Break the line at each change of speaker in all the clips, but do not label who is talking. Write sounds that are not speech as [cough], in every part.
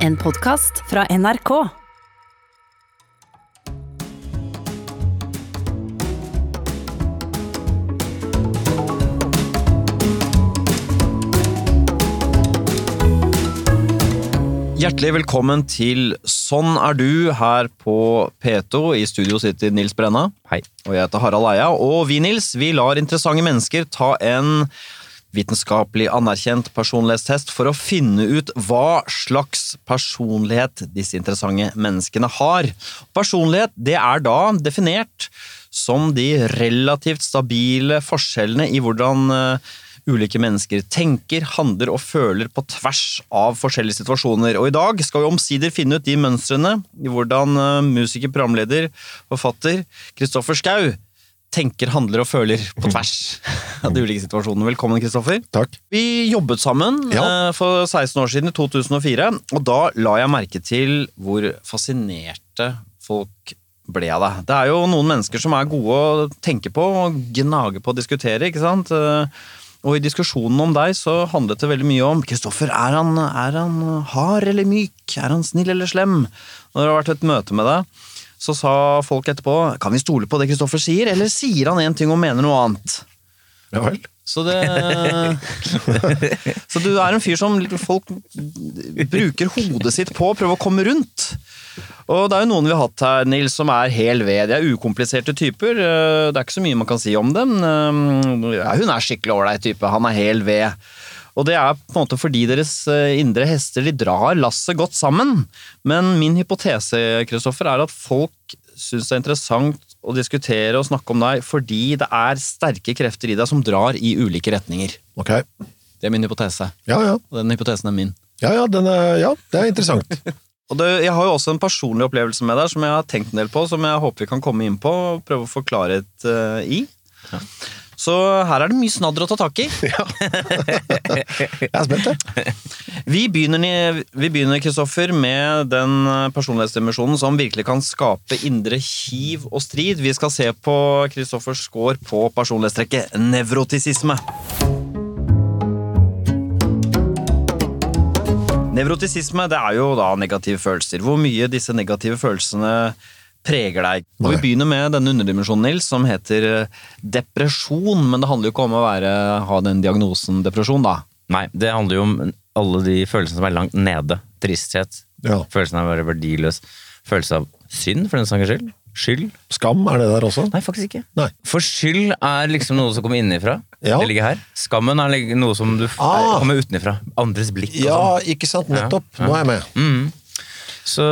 En podkast fra NRK.
Hjertelig velkommen til Sånn er du her på P2. I studio sitter Nils Brenna. Hei. Og jeg heter Harald Eia. Og vi, Nils, vi lar interessante mennesker ta en vitenskapelig anerkjent personlighetstest for å finne ut hva slags personlighet disse interessante menneskene har. Personlighet det er da definert som de relativt stabile forskjellene i hvordan eh, ulike mennesker tenker, handler og føler på tvers av forskjellige situasjoner. Og i dag skal vi omsider finne ut de mønstrene i hvordan eh, musiker, programleder, forfatter Kristoffer Schau tenker, handler og føler på tvers av de ulike situasjonene. Velkommen, Kristoffer.
Takk.
Vi jobbet sammen
Ja.
eh, for 16 år siden, i 2004, og da la jeg merke til hvor fascinerte folk ble av deg. Det er jo noen mennesker som er gode å tenke på og gnage på å diskutere, ikke sant? Eh, Og i diskusjonen om deg så handlet det veldig mye om Kristoffer, er han, er han hard eller myk? Er han snill eller slem? Når det har vært et møte med deg, så sa folk etterpå Kan vi stole på det Kristoffer sier, eller sier han én ting og mener noe annet?
Ja vel.
Så det Så du er en fyr som folk bruker hodet sitt på, prøver å komme rundt. Og det er jo noen vi har hatt her, Nils, som er hel ved. De er ukompliserte typer. Eh, Det er ikke så mye man kan si om dem. Eh, ja, Hun er skikkelig ålreit type. Han er hel ved. Og det er på en måte fordi deres eh, indre hester de drar lasset godt sammen. Men min hypotese Kristoffer, er at folk syns det er interessant å diskutere og snakke om deg fordi det er sterke krefter i deg som drar i ulike retninger.
Ok.
Det er min hypotese.
Ja, ja.
Og den hypotesen er min.
Ja, ja, den er, ja det er interessant.
Og det, Jeg har jo også en personlig opplevelse med deg som jeg har tenkt en del på, som jeg håper vi kan komme inn på og prøve å få klarhet eh, i. Så her er det mye snadder å ta tak i.
Jeg er spent, jeg.
Vi begynner, ni- vi begynner Kristoffer, med den eh, personlighetsdimensjonen som virkelig kan skape indre kiv og strid. Vi skal se på Kristoffers score på personlighetstrekket nevrotisisme. Nevrotisisme det er jo da negative følelser. Hvor mye disse negative følelsene preger deg. Og vi
Nei.
begynner med denne underdimensjonen, Nils, som heter eh, depresjon. Men det handler jo ikke om å være, ha den diagnosen depresjon, da.
Nei, det handler jo om alle de følelsene som er langt nede. Tristhet.
Ja.
Følelsen av å være verdiløs. Følelse av synd, for den saks skyld. Skyld?
Skam, er det der også?
Nei, faktisk ikke.
Nei.
For skyld er liksom noe som kommer innenfra.
Ja.
Det ligger her. Skammen er lig- noe som du f-
Ah.
kommer utenfra. Andres blikk og
Ja,
sånn.
ikke sant. Nettopp. Nå er jeg med.
Så,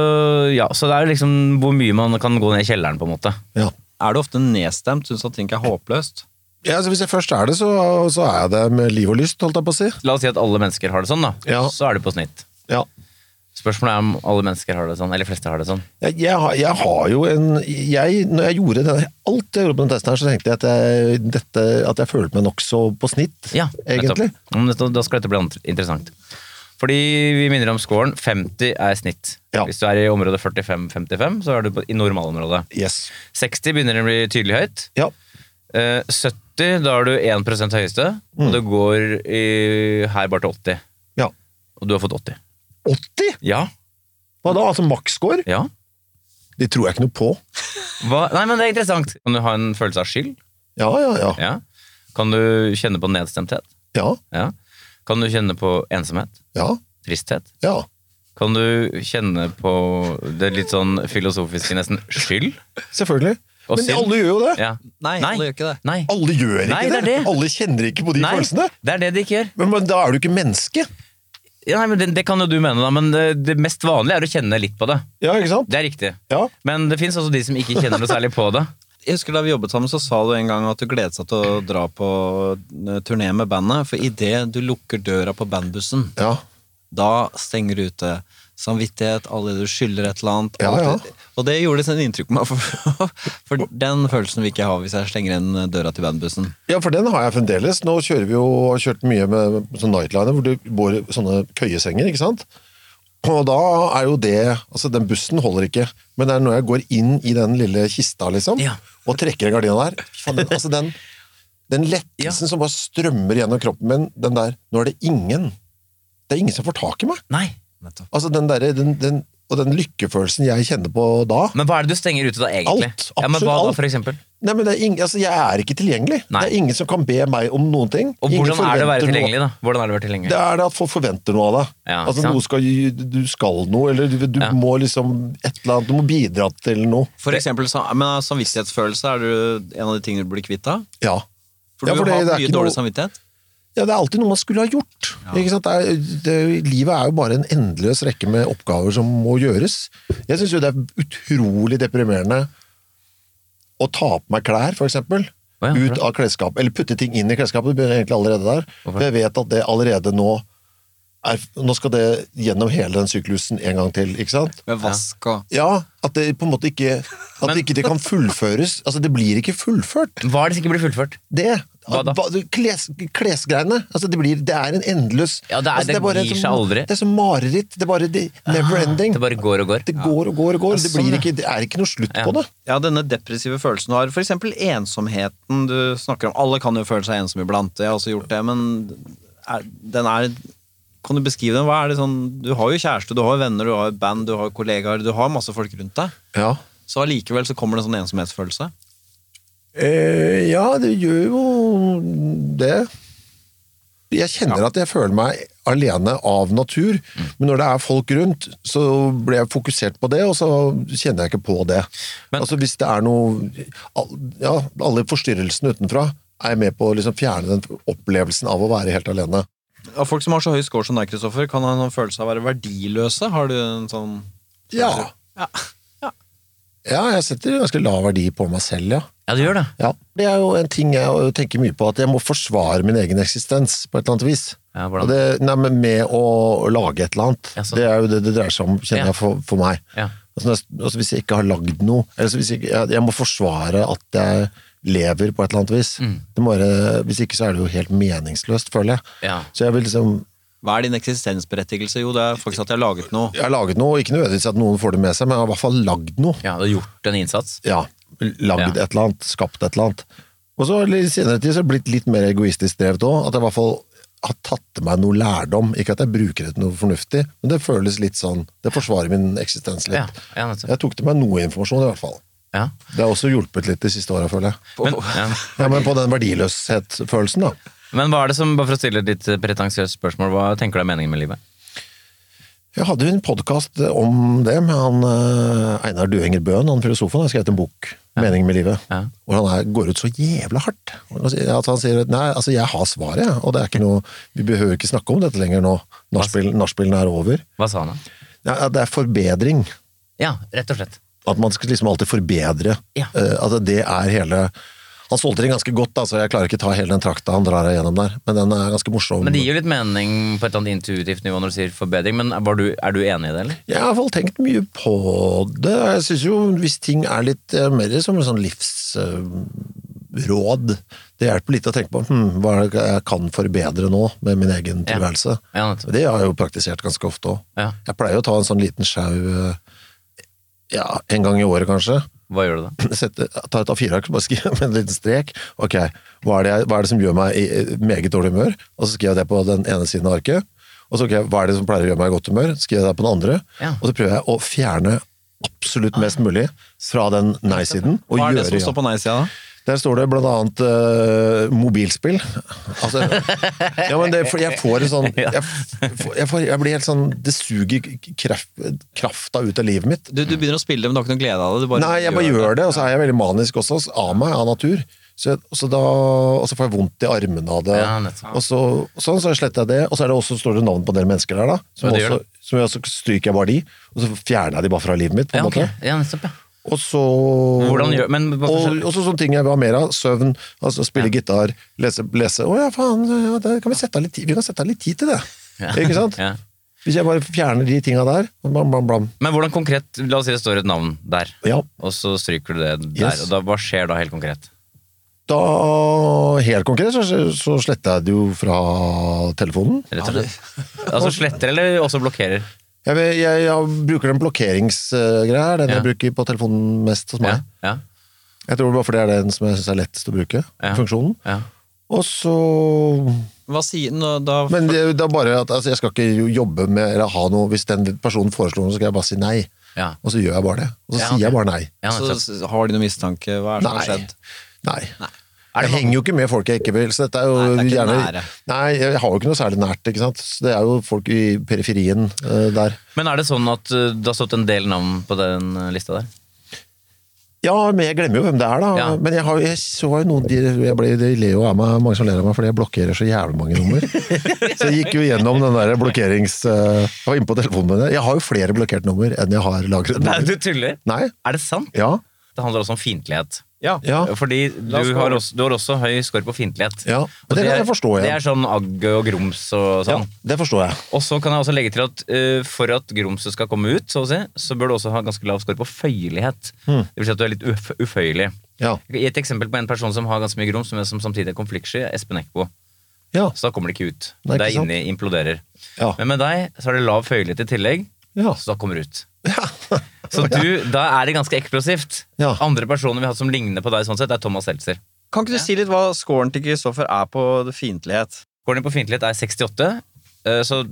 ja, så det er liksom hvor mye man kan gå ned i kjelleren, på en måte.
Ja.
Er du ofte nedstemt? Syns at ting er håpløst?
Ja, altså, hvis jeg først er det, så, så er jeg det med liv og lyst, holdt jeg på å si.
La oss si at alle mennesker har det sånn, da.
Ja.
Så er det på snitt.
Ja.
Spørsmålet er om alle mennesker har det sånn, eller fleste har det sånn.
Jeg, jeg, har- jeg har jo en jeg, Når jeg gjorde denne, alt jeg gjorde på den testen her, så tenkte jeg at jeg, dette, at jeg følte meg nokså på snitt,
Ja,
egentlig.
nettopp. Om dette- Da skal dette bli ant- interessant. Fordi vi minner om scoren. 50 er snitt.
Ja.
Hvis du er i området 45-55, så er du på, i normalområdet.
Yes.
60 begynner det å bli tydelig høyt.
Ja.
Eh, 70, da er du 1 høyeste. Og det går i, her bare til 80.
Mm. ja.
Og du har fått 80.
80?
Ja.
Hva da? Altså maksscore?
ja.
Det tror jeg ikke noe på.
Hva? Nei, men det er interessant. Kan du ha en følelse av skyld?
Ja, ja, ja.
Ja. Kan du kjenne på nedstemthet?
Ja,
Ja. Kan du kjenne på ensomhet?
ja,
Tristhet?
ja.
Kan du kjenne på det litt sånn filosofiske nesten skyld?
Selvfølgelig.
Og
Men
synd.
alle gjør jo det.
Ja.
Nei,
Nei.
alle gjør ikke det.
Nei.
Alle gjør ikke
Nei, det
det.
er det.
Alle kjenner ikke på de
Nei,
følelsene.
det er det de ikke gjør.
Men, men da er du ikke menneske.
Ja, nei, men det, det kan jo du mene, da, men det, det mest vanlige er å kjenne litt på det.
Ja, ikke sant?
Det er riktig.
Ja.
Men det fins også de som ikke kjenner noe særlig på det.
Jeg husker Da vi jobbet sammen, så sa du en gang at du gledet deg til å dra på eh, turné med bandet. For idet du lukker døra på bandbussen,
Ja.
da stenger du ute samvittighet, alle det du skylder et eller annet.
Ja,
alt
ja.
det- Og det gjorde sånn inntrykk på meg, for, [laughs] for den følelsen vil ikke jeg ha hvis jeg slenger igjen døra til bandbussen.
ja, for den har jeg fremdeles. Nå kjører vi jo og har kjørt mye med sånn nightliner, hvor det bor sånne køyesenger, ikke sant? Og da er jo det Altså, den bussen holder ikke, men det er når jeg går inn i den lille kista, liksom,
Ja.
og trekker i gardina der Fy faen, den, Altså, den,
[laughs]
den lettelsen som bare strømmer gjennom kroppen min, den der Nå er det ingen. Det er ingen som får tak i meg.
Nei,
Nettopp.
Altså den der, den, den, og den lykkefølelsen jeg kjenner på da
Men hva er det du stenger ute da, egentlig?
Alt,
ja, men
absolutt
hva da,
alt.
for eksempel?
Nei, men det er ing, altså, Jeg er ikke tilgjengelig.
Nei.
Det er ingen som kan be meg om noen ting.
Og
Ingen
hvordan er det å være
forventer noe.
tilgjengelig, da? Hvordan er det å være tilgjengelig?
Det er det at folk forventer noe av deg.
Ja,
altså,
sant.
noe skal, du skal noe, eller du, du
Ja.
må liksom et eller annet, du må bidra til noe.
For eksempel sam- men samvittighetsfølelse, er du en av de tingene du blir kvitt av?
Ja.
For
Ja,
du
for det-
har
det er
mye
ikke noe-
dårlig samvittighet.
Ja, det er alltid noe man skulle ha gjort. Ikke sant? Det er, det, livet er jo bare en endeløs rekke med oppgaver som må gjøres. Jeg syns jo det er utrolig deprimerende å ta på meg klær, for eksempel.
Å ja, hvorfor
ut av klesskapet. Eller putte ting inn i klesskapet. Det begynner egentlig allerede der.
Hvorfor
For jeg vet at det allerede nå er, Nå skal det gjennom hele den syklusen en gang til, ikke sant?
Med vask og
Ja, at det på en måte ikke At
Men-
ikke det kan fullføres. Altså, det blir ikke fullført.
Hva er det som ikke blir fullført?
Det.
Hva da?
Hva- Kles, klesgreiene. Altså, det, blir, det er en endeløs
Ja, det er-
altså,
det
bare
gir
som-
seg aldri. Ah,
Det er som mareritt. Det er bare det, never ending. Det,
Det bare går og går.
går og går og går. Det,
sånn,
blir
ja.
ikke, det er ikke noe slutt
Ja.
på det.
ja, denne depressive følelsen du har, for eksempel ensomheten du snakker om. Alle kan jo føle seg ensom iblant, jeg har også gjort det, men er, den er Kan du beskrive den? Hva er det sånn Du har jo kjæreste, du har venner, du har band, du har kollegaer, du har masse folk rundt deg.
Ja.
Så allikevel så kommer det en sånn ensomhetsfølelse.
Eh, ja, det gjør jo det. Jeg kjenner at jeg føler meg alene av natur, men når det er folk rundt, så blir jeg fokusert på det, og så kjenner jeg ikke på det.
Men-
altså Hvis det er noe al- Ja, alle forstyrrelsene utenfra er jeg med på å liksom fjerne den opplevelsen av å være helt alene.
Av folk som har så høy score som deg, Kristoffer, kan ha en sånn følelse av å være verdiløse. Har du en sånn
Ja.
Ja. Ja.
ja, jeg setter ganske lav verdi på meg selv, ja.
Ja, du gjør det.
ja. Det er jo en ting jeg tenker mye på, at jeg må forsvare min egen eksistens på et eller annet vis.
Ja,
Og
hvordan?
det, nei, men med å lage et eller annet.
Ja, sånn.
Det er jo det det dreier seg om, kjenner
Ja.
jeg, for, for meg.
Ja.
Altså, når jeg- altså, hvis jeg ikke har lagd noe eller så hvis jeg, ikke- jeg, jeg må forsvare at jeg lever på et eller annet vis.
Mm.
Det må være, hvis ikke så er det jo helt meningsløst, føler jeg.
Ja.
Så jeg vil liksom
Hva er din eksistensberettigelse? Jo, det er faktisk at jeg har laget noe.
Jeg har laget noe, ikke nødvendigvis at noen får det med seg, men jeg har i hvert fall lagd noe.
ja, du har gjort en innsats.
Ja, lagd
Ja.
et eller annet, skapt et eller annet. Og så i senere tid så har jeg blitt litt mer egoistisk drevet òg, at jeg i hvert fall har tatt til meg noe lærdom. Ikke at jeg bruker det til noe fornuftig, men det føles litt sånn Det forsvarer min eksistens litt.
Ja, ja, nettopp.
jeg tok til meg noe informasjon, i hvert fall.
Ja.
Det har også hjulpet litt de siste åra, føler jeg.
Men, ja.
[laughs] Ja, men på den verdiløshetsfølelsen, da.
men hva er det som, bare for å stille et litt pretensiøst spørsmål, hva tenker du er meningen med livet?
Jeg hadde jo en podkast om det med han eh, Einar Duenger Bøen, han filosofen. Han har skrevet en bok, 'Mening med livet',
Ja.
hvor han er, går ut så jævla hardt. Og han sier- At han sier at 'nei, altså jeg har svaret, jeg, og det er ikke noe, vi behøver ikke snakke om dette lenger nå. Nachspiel- Nachspielene er over.
Hva sa han da?
Nei, at det er forbedring.
Ja, rett og slett.
At man skal liksom alltid forbedre.
Ja.
Eh, at det er hele Han solgte den ganske godt, da, så jeg klarer ikke ta hele den trakta han drar gjennom der, men den er ganske morsom.
Men det gir jo litt mening på et eller annet intuitivt nivå når du sier forbedring, men var du, er du enig i det, eller?
Jeg har i hvert fall tenkt mye på det. Jeg synes jo hvis ting er litt eh, mer som en sånn livsråd Det hjelper litt å tenke på hm, hva er det jeg kan forbedre nå med min egen
Ja.
tilværelse.
Ja, nettopp.
Det har jeg jo praktisert ganske ofte òg.
Ja.
Jeg pleier å ta en sånn liten sjau eh, ja, en gang i året, kanskje.
Hva gjør du da?
[laughs] Sette, ta et A4-ark og bare skrive med en liten strek. Ok, hva er, det, jeg- hva er det som gjør meg i eh, meget dårlig humør? Og så skriver jeg det på den ene siden av arket. Og så ok, hva er det som pleier å gjøre meg i godt humør? Skriver jeg det på den andre.
Ja.
Og så prøver jeg å fjerne absolutt mest mulig fra den nei-siden. og
Hva er det
gjøre
som
ja.
står på nei-sida, da?
Der står det blant annet eh, mobilspill. Altså, ja, men det, for jeg får en sånn
[laughs]
jeg, får, jeg, får, jeg blir helt sånn Det suger kraft, krafta ut av livet mitt.
Du, du begynner å spille, men du har ikke noe glede av det. Du bare
Nei, jeg bare gjør det, og så er jeg veldig manisk også, av meg, av natur. Så, jeg- så da, og så får jeg vondt i armene av det.
Ja, nettopp.
og så, sånn, så sletter jeg det, og så er det også, står det navn på en del mennesker der, da. Som,
Ja, det gjør
også, som jeg også stryker jeg bare de, og så fjerner jeg de bare fra livet mitt. på en
Ja, ok.
måte.
Ja, nettopp, ja.
Og så
Hvordan gjør- men hva-
og, og så sånne ting jeg vil ha mer av. Søvn, altså spille gitar, lese, lese. Å ja, faen, ja, det kan vi, sette av litt, tid- vi kan sette av litt tid til det.
Ja.
[laughs] Ikke sant?
Ja.
Hvis jeg bare fjerner de tinga der, og blam, blam, blam.
Men hvordan konkret, la oss si det står et navn der,
Ja,
og så stryker du det der,
Yes.
og da, hva skjer da helt konkret?
Da, helt konkret, så, så sletter jeg det jo fra telefonen.
Rett og slett. Altså sletter eller også blokkerer?
Jeg, vil- jeg, jeg bruker den blokkeringsgreia, her, den
Ja.
jeg bruker på telefonen mest hos meg.
Ja, ja,
Jeg tror bare fordi det er den som jeg synes er lettest å bruke,
Ja.
funksjonen.
ja.
Og så
Hva sier nå da?
Men det, det er bare at altså, jeg skal ikke jo- jobbe med eller ha noe Hvis den personen foreslår noe, så skal jeg bare si nei.
Ja.
Og så gjør jeg bare det. Og så
Ja,
sier jeg
ok.
bare nei.
Ja,
så,
nettopp.
s- har de noe mistanke? Hva er det som har
Nei.
skjedd?
Nei. Jeg henger jo ikke med folk jeg ikke vil, så dette er jo
Nei, det er ikke
gjerne
nære.
Nei, jeg har jo ikke noe særlig nært, ikke sant. Så det er jo folk i periferien eh, der.
Men er det sånn at eh, det har stått en del navn på den eh, lista der?
Ja, men jeg glemmer jo hvem det er, da.
Ja.
Men jeg, har, jeg så jo noen de, jeg ble, de ler jo av meg, mange som ler av meg, fordi jeg blokkerer så jævlig mange nummer. så jeg gikk jo gjennom den der blokkerings... eh, jeg var inne på telefonen min. Jeg har jo flere blokkert nummer enn jeg har lagret
Nei,
nummer.
du tuller!
Nei?
Er det sant?
Ja?
Det handler også om fiendtlighet.
Ja.
Ja?
Fordi
La oss
du
gå
har,
over.
også, du har også høy score på fiendtlighet.
Ja, men
Og
det kan
er-
jeg forstå, ja.
Det er sånn agg og grums og
ja?
sånn.
Det forstår jeg.
Og så kan jeg også legge til at eh, for at grumset skal komme ut, så, å si, så bør du også ha ganske lav score på føyelighet.
Hmm.
Det vil si at du er litt uf uføyelig.
Ja.
Gi et eksempel på en person som har ganske mye grums, men som samtidig er konfliktsky. Espen Eckbo.
Ja.
Så da kommer det ikke ut.
Nei, ikke
det er
sant?
inni, imploderer.
Ja.
Men med deg så er det lav føyelighet i tillegg,
[laughs] Ja.
så da kommer det ut. Så du, da er det ganske eksplosivt.
Ja.
Andre personer vi har hatt som ligner på deg, sånn sett, er Thomas Seltzer.
Kan ikke du si litt hva scoren til Kristoffer er på det fiendtlighet?
Går den på fiendtlighet, er 68, eh, så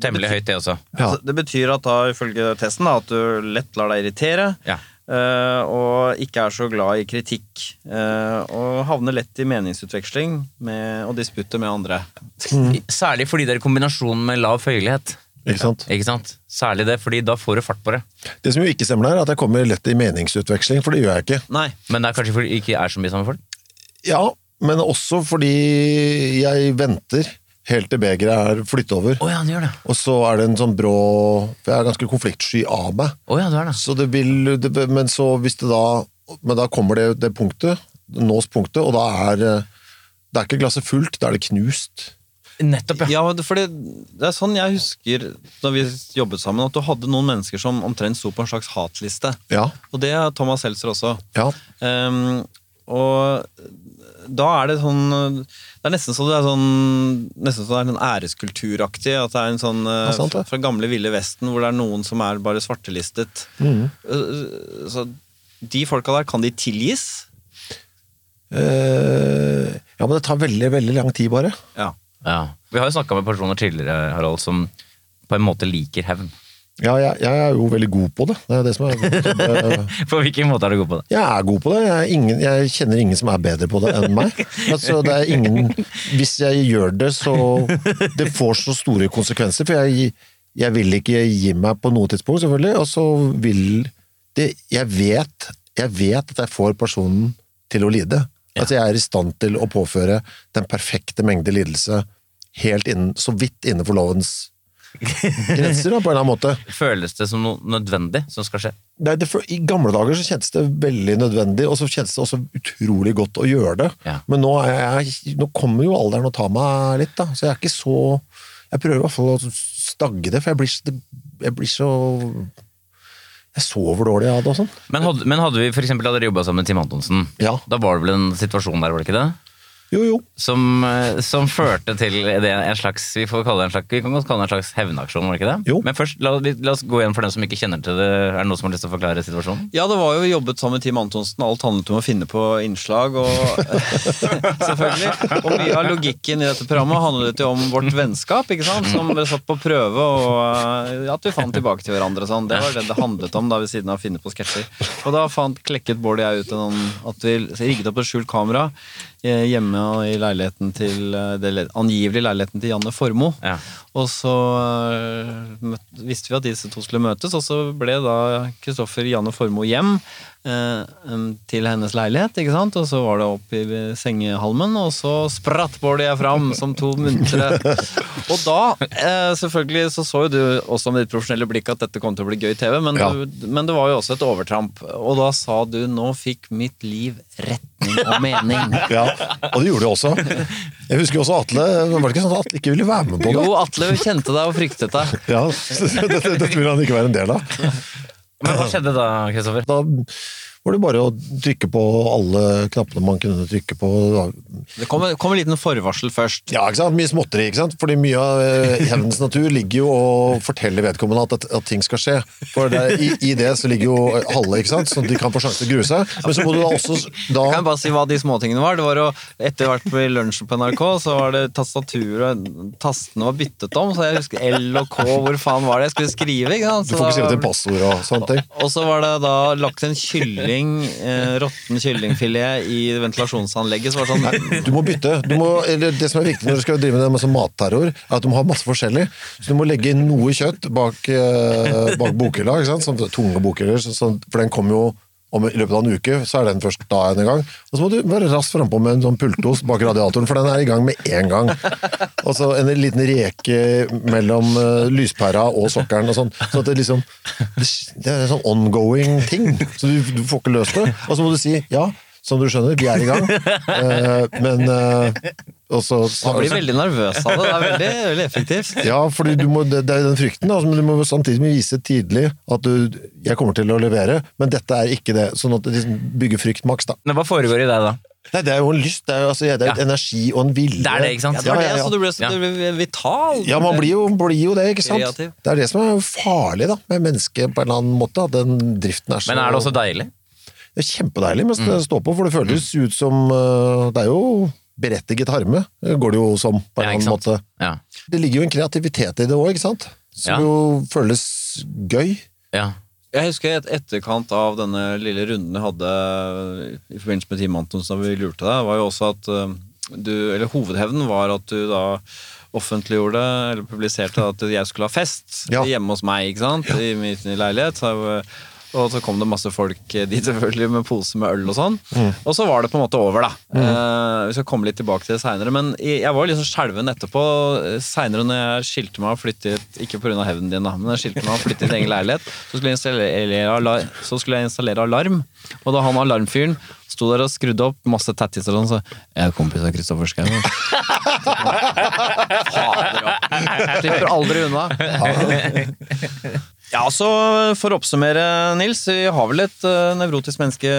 temmelig høyt, det også.
Ja.
Altså, det betyr at da, ifølge testen da, at du lett lar deg irritere,
Ja.
eh, og ikke er så glad i kritikk, eh, og havner lett i meningsutveksling med, og disputter med andre.
Særlig fordi det er i kombinasjon med lav føyelighet.
Ikke sant?
Ikke sant? Særlig det, fordi da får du fart på det.
Det som jo ikke stemmer, der, er at jeg kommer lett i meningsutveksling, for det gjør jeg ikke.
Nei.
Men det er kanskje fordi det ikke er så mye sammen med folk.
Ja, men også fordi jeg venter helt til begeret er flyttet over.
Å ja, du gjør det.
Og så er det en sånn brå For jeg er ganske konfliktsky av meg.
Å ja, du er det.
Så det vil det, Men så hvis det da Men da kommer det, det punktet. Det nås punktet, og da er eh, Det er ikke glasset fullt, da er det knust.
Nettopp, ja.
Ja, for det, det er sånn jeg husker da vi jobbet sammen, at du hadde noen mennesker som omtrent sto på en slags hatliste.
Ja.
Og det er Thomas Seltzer også.
Ja.
Ehm, og da er det sånn Det er nesten så det er sånn Nesten så det er en æreskulturaktig. At det er en sånn eh,
Ja, sant det.
fra gamle Ville Vesten hvor det er noen som er bare svartelistet.
Mhm.
Eh, Så de folka der, kan de tilgis?
Eh, ja, men det tar veldig, veldig lang tid, bare.
Ja.
ja. Vi har jo snakka med personer tidligere, Harald, som på en måte liker hevn. [laughs]
Ja, jeg, jeg er jo veldig god på det. Det er det som er
På hvilken måte er du god på det?
Jeg er god på det. Jeg, er ingen, jeg kjenner ingen som er bedre på det enn
[laughs]
meg. Altså, det er ingen, hvis jeg gjør det, så Det får så store konsekvenser. For jeg, jeg vil ikke gi meg på noe tidspunkt, selvfølgelig. Og så vil det Jeg vet, jeg vet at jeg får personen til å lide. At jeg er i stand til å påføre den perfekte mengde lidelse helt innen, så vidt innenfor lovens
[laughs]
grenser, da, på en eller annen måte.
Føles det som noe nødvendig som skal skje?
Nei, det, for, I gamle dager så kjentes det veldig nødvendig, og så kjentes det også utrolig godt å gjøre det.
Ja.
Men nå, er jeg, nå kommer jo alderen og tar meg litt, da. så jeg er ikke så Jeg prøver i hvert fall å stagge det, for jeg blir, så- jeg blir så Jeg sover dårlig av det og sånn.
Men hadde, men hadde vi for eksempel hadde jobba sammen med Tim Antonsen,
Ja.
da var det vel en situasjon der, var det ikke det?
Jo, jo.
Som, eh, som førte til det, en slags Vi får kalle det en slags, vi kan godt kalle det en slags hevnaksjon, var det ikke det?
Jo.
Men først, la, vi- la oss gå igjen for dem som ikke kjenner til det. Er det noen som har lyst til å forklare situasjonen?
Ja, det var jo jobbet sammen med Team Antonsen. Alt handlet om å finne på innslag. Og, [laughs] selvfølgelig. Og mye av logikken i dette programmet handlet jo om vårt vennskap, ikke sant? som ble satt på prøve, og eh, at vi fant tilbake til hverandre. og Sånn. Det var det det handlet om, da ved siden av å finne på sketsjer. Og da fant, klekket Bård og jeg ut en, at vi rigget opp et skjult kamera eh, hjemme i leiligheten til, eh, det le- angivelig leiligheten til Janne Formoe.
Ja.
Og så øh, møt- visste vi at disse to skulle møtes, og så ble da Kristoffer Janne Formoe hjem eh, em, til hennes leilighet, ikke sant? Og så var det opp i sengehalmen, og så spratt Bård og jeg fram som to [laughs] muntre. Og da, eh, selvfølgelig, så så jo du også med ditt profesjonelle blikk at dette kom til å bli gøy TV, men,
Ja.
du, men det var jo også et overtramp. Og da sa du 'nå fikk mitt liv retning og [laughs] mening'.
Ja, Og det gjorde det også. Jeg husker jo også Atle. Var det ikke sånn at Atle ikke ville være med på det?
Jo, Atle kjente deg og fryktet deg.
Ja, Dette, dette ville han ikke være en del av.
Men hva skjedde da, Kristoffer?
Da var det bare å trykke på alle knappene man kunne trykke på.
Det kom, kom en liten forvarsel først.
Ja, ikke sant? Mye småtteri, ikke sant? Fordi mye av eh, hevnens natur ligger jo og forteller vedkommende at, at, at ting skal skje. For det, i, I det så ligger jo halve, ikke sant? Sånn at de kan få sjanse til å grue seg. Men så må du da også da,
Jeg kan bare si hva de småtingene var. Det var å, Etter hvert på lunsjen på NRK så var det tastaturet Tastene var byttet om, så jeg husker L og K, hvor faen var det jeg skulle skrive? ikke sant?
Du
Så
får ikke
da
skrive
var-
til passord og sånne ting.
Og så var det da lagt en kylling, eh, råtten kyllingfilet i ventilasjonsanlegget. Så var det sånn
Du må bytte. Du må, eller det som er viktig når du skal drive med det med sånn matterror, er at du må ha masse forskjellig. Så du må legge inn noe kjøtt bak, eh, bak bokhylla, ikke sant? Sånn tunge bokhyller, så, sånn- for den kommer jo om, i løpet av en uke, så er den først da en gang. Og så må du være raskt frampå med en sånn pultost bak radiatoren, for den er i gang med en gang. Og så en liten reke mellom eh, lyspæra og sokkelen og sånn. Så at det liksom Det er en sånn ongoing ting. Så du, du får ikke løst det. Og så må du si ja. Som du skjønner, vi er i gang. Eh, men eh, Og så
Man blir veldig nervøs av det. Det er veldig, veldig effektivt.
Ja, fordi du må, det det er jo den frykten, da, men du må jo samtidig vise tidlig at du 'jeg kommer til å levere', men dette er ikke det. Sånn at det liksom bygger frykt maks, da.
Men Hva foregår i deg da?
Nei, det er jo en lyst, det er jo altså, det er jo
Ja.
energi og en vilje.
Det er det, ikke sant?
Ja, det var det,
ja, ja.
så du ble, så du ble vital.
Ja, man blir jo, blir jo det, ikke sant?
Kreativ.
Det er det som er farlig da, med mennesket på en eller annen måte, at den driften er så...
Men er det også deilig?
Det er kjempedeilig mens
Mm.
det står på, for det føles ut som... øh, Det er jo berettiget harme, eh, går det jo som på en
Ja,
eller
ikke
annen måte.
sant? Ja.
Det ligger jo en kreativitet i det også, ikke sant? Som
Ja.
jo føles gøy.
ja.
Jeg husker et etterkant av denne lille runden jeg hadde i forbindelse med Team Antonsen da vi lurte deg, var jo også at eh, du, eller hovedhevnen var at du da offentliggjorde eller publiserte at jeg skulle ha fest
Ja.
hjemme hos meg, ikke sant, i min leilighet. Så, eh, og så kom det masse folk eh, dit [laughs] selvfølgelig med pose med øl og sånn. Og så var det på en måte over, da. Eh, vi skal komme litt tilbake til det seinere, men jeg jeg var jo liksom skjelven etterpå. eh, Seinere når jeg skilte meg og flyttet, ikke pga. hevnen din, da, men jeg skilte meg og flyttet i egen leilighet, så skulle jeg installere,
[laughs]
ala- så skulle jeg installere alarm. Og da han alarmfyren sto der og skrudde opp masse tattiser og sånn, så Jeg er kompis av Kristoffer Schou. Fader opp. Slipper aldri unna. Ja, så For å oppsummere, Nils. Vi har vel et eh, nevrotisk menneske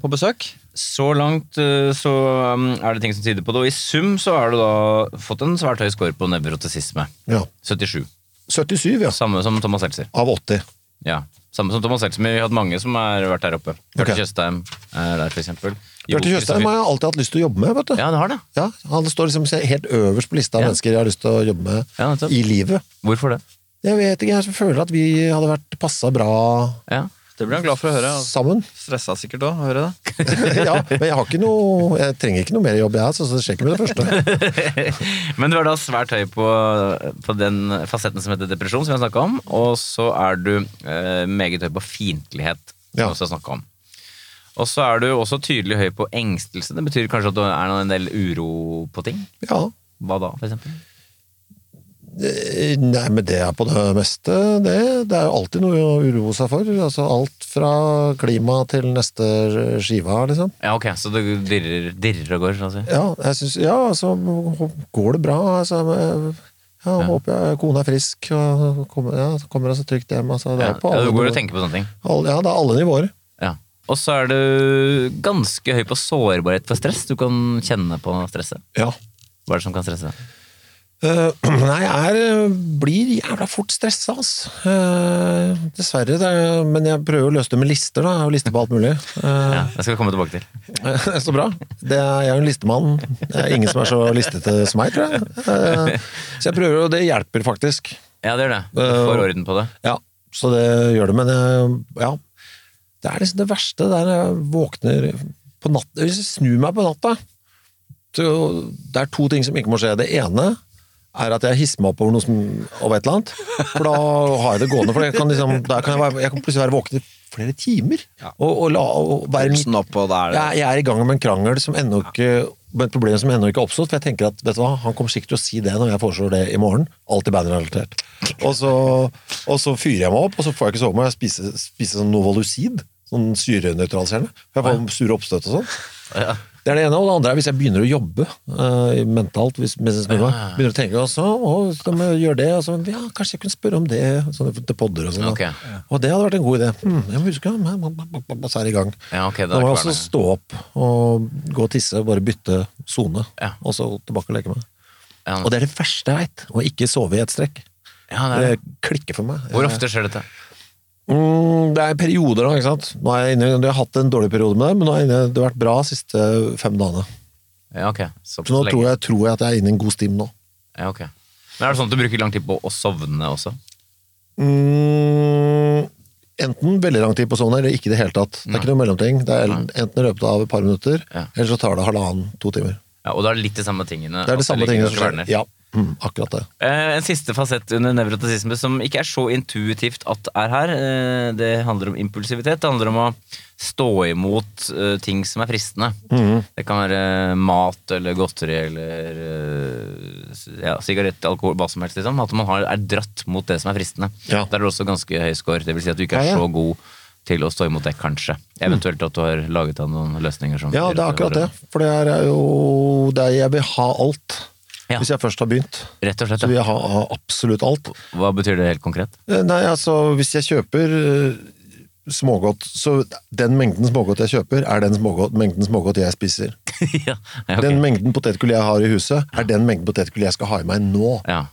på besøk?
Så langt eh, så um, er det ting som tyder på det, og i sum så har du da fått en svært høy score på nevrotisisme.
Ja.
77.
77, ja.
Samme som Thomas Seltzer.
Av 80.
Ja. Samme som Thomas Seltzer, men vi har hatt mange som har vært der oppe. Bjarte
Ok.
Tjøstheim er der, for eksempel. Jo,
Bjørte Kjøstheim har jeg alltid hatt lyst til å jobbe med, vet du.
Ja, det har det.
Ja, han står liksom helt øverst på lista av
Ja.
mennesker jeg har lyst til å jobbe med
Ja, nettopp.
i livet.
Hvorfor det?
Jeg vet ikke, jeg føler at vi hadde vært passet bra
Ja.
Det blir han glad for å høre. altså.
sammen. [laughs]
Stressa sikkert òg, høre det.
ja, men jeg har ikke noe Jeg trenger ikke noe mer jobb, jeg, altså, så det skjer ikke med det
[laughs]
første.
Men du er da svært høy på, på den fasetten som heter depresjon, som vi har snakka om. Og så er du eh, meget høy på fiendtlighet, som vi
Ja.
også har snakka om. Og så er du også tydelig høy på engstelse. Det betyr kanskje at det er en del uro på ting?
Ja.
Hva da, for eksempel?
Eh, Nei, men det er på det meste, det. Det er jo alltid noe å uroe seg for. Altså alt fra klima til neste skiva, liksom.
Ja, ok, så det dirrer, dirrer og går, sånn å si.
Ja, jeg synes, ja, altså går det bra. Altså, jeg ja, håper jeg, kona er frisk og kommer, ja, så kommer jeg så trygt hjem. Altså, det
Ja,
er på
ja,
alle,
du går og
nivåer.
tenker på sånne ting.
alle, ja, det er alle nivåer.
Ja. Og så er du ganske høy på sårbarhet for stress. Du kan kjenne på stresset.
Ja.
Hva er det som kan stresse deg?
Eh, [clears throat] nei, jeg er, blir jævla fort stressa, altså. Eh, dessverre. Det er, men jeg prøver å løse det med lister, da. Jeg har jo lister på alt mulig. Eh,
Ja, det skal vi komme tilbake til.
[laughs] Så bra. Det er, jeg er jo en listemann. Det er ingen som er så listete som meg, tror jeg. Eh, Så jeg prøver, og det hjelper faktisk.
Ja, det gjør det. Du
Eh,
får orden på det.
Ja, så det gjør det, men eh, ja. Det er liksom det verste der jeg våkner på natta Hvis jeg snur meg på natta så Det er to ting som ikke må skje. Det ene er at jeg hisser meg opp over noe som, over et eller annet. For da har jeg det gående. For jeg kan liksom, da kan jeg, være, jeg kan plutselig være våken i flere timer. Og, og, la, og være midt
Pulsen opp, og da er det
jeg, jeg er i gang med en krangel som ennå ikke med et problem som ennå ikke er oppstått, for jeg tenker at vet du hva, han kommer sikkert til å si det når jeg foreslår det i morgen. Alltid bandrelatert. Og så, og så fyrer jeg meg opp, og så får jeg ikke sove, må jeg spise, spise sånn Novalucid. Sånn syrenøytraliserende. For jeg får sure oppstøt og sånn. Det er det ene, og det andre er hvis jeg begynner å jobbe eh, mentalt. Hvis, mens jeg snur meg. Begynner å tenke og så, å, så må jeg gjøre det, og så, ja, kanskje jeg kunne spørre om det sånn, til podder og sånn. da.
Ok.
Og det hadde vært en god idé. Hmm, jeg må huske, ja, bam, bam, bam, bam, så er det i gang.
Ja, ok, det
Da
er
må jeg
ikke
også
verre.
stå opp og gå og tisse, bare bytte sone,
Ja.
og så tilbake og leke meg.
Ja,
Og det er det verste jeg veit, å ikke sove i et strekk.
ja, det er.
Det
det.
klikker for meg.
Hvor ofte skjer dette?
Mm, det er perioder nå, ikke sant. Nå er jeg inne, jeg har hatt en dårlig periode med det, men nå er jeg inne, det har vært bra de siste fem dagene.
Ja, ok. Så,
Så nå tror jeg, tror jeg at jeg er inne i en god stim nå.
Ja, ok. Men er det sånn at du bruker lang tid på å sovne også?
Mm, enten veldig lang tid på sovn, eller ikke i det hele tatt. Det er ikke noe mellomting. Det er enten i løpet av et par minutter,
Ja.
eller så tar det halvannen, to timer.
Ja, og da er det litt de samme tingene.
Det er det
at
samme
ligger
tingene
og
som skjer.
skverner.
Ja, mm, akkurat det.
Eh, En siste fasett under nevrotisisme som ikke er så intuitivt at er her. Eh, Det handler om impulsivitet. Det handler om å stå imot eh, ting som er fristende.
Mhm.
Det kan være eh, mat eller godteri eller eh, s- ja, sigarett, alkohol, hva som helst. Liksom. At man har, er dratt mot det som er fristende.
Ja.
Der er det også ganske høy score. Det vil si at du ikke er
Ja, ja.
så god til å stå imot det, kanskje. Eventuelt at du har laget deg noen løsninger som
Ja, det er akkurat det. For det er jo det er, Jeg vil ha alt.
Ja.
Hvis jeg først har begynt,
Rett og slett.
så vil
Ja.
jeg ha ha absolutt alt.
Hva betyr det helt konkret? [laughs]
Eh, Nei, altså, hvis jeg kjøper eh, smågodt, så den mengden smågodt jeg kjøper, er den smågodt, mengden smågodt jeg spiser.
ja, ja, ok.
Den mengden potetgull jeg har i huset, er den mengden potetgull jeg skal ha i meg nå.
ja.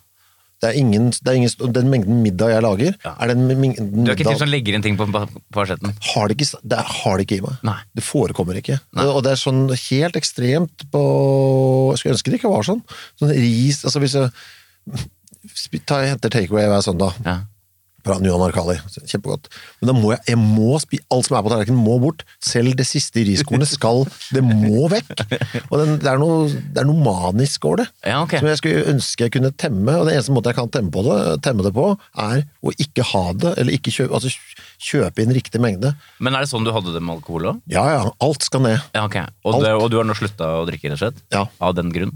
Det er ingen, det er ingen, den mengden middag jeg lager, er den mengden
Du er ikke
middag
typ som legger inn ting på pa- på asjetten?
har det, ikke, det har det ikke i meg.
Nei.
Det forekommer ikke. Det, og det er sånn helt ekstremt på Jeg skulle ønske det ikke var sånn. Sånn ris altså Hvis jeg sp- tar, jeg henter takeaway hver søndag
Ja.
fra Nuan Arkali, kjempegodt, men da må jeg, jeg må spi, alt som er på tallerkenen, må bort. Selv det siste riskornet skal Det må vekk! Og den, det, er noe, det er noe manisk over det.
Ja, ok.
Som jeg skulle ønske jeg kunne temme, og den eneste måten jeg kan temme, på det, temme det på, er å ikke ha det, eller ikke kjøpe, altså kjøpe inn riktig mengde.
Men er det sånn du hadde det med alkohol òg?
Ja, ja, alt skal ned.
Ja, ok. og, det- og du har nå slutta å drikke, rett og slett?
Ja.
Av den grunn?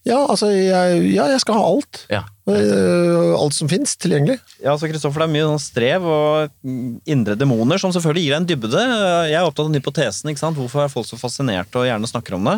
Ja, altså, jeg, ja, jeg skal ha alt.
Ja.
Eh, alt som finnes tilgjengelig.
Ja, så Kristoffer, det er mye sånn strev og mm, indre demoner som selvfølgelig gir deg en dybde. Jeg er opptatt av den hypotesen. ikke sant? Hvorfor er folk så fascinerte og gjerne snakker om det?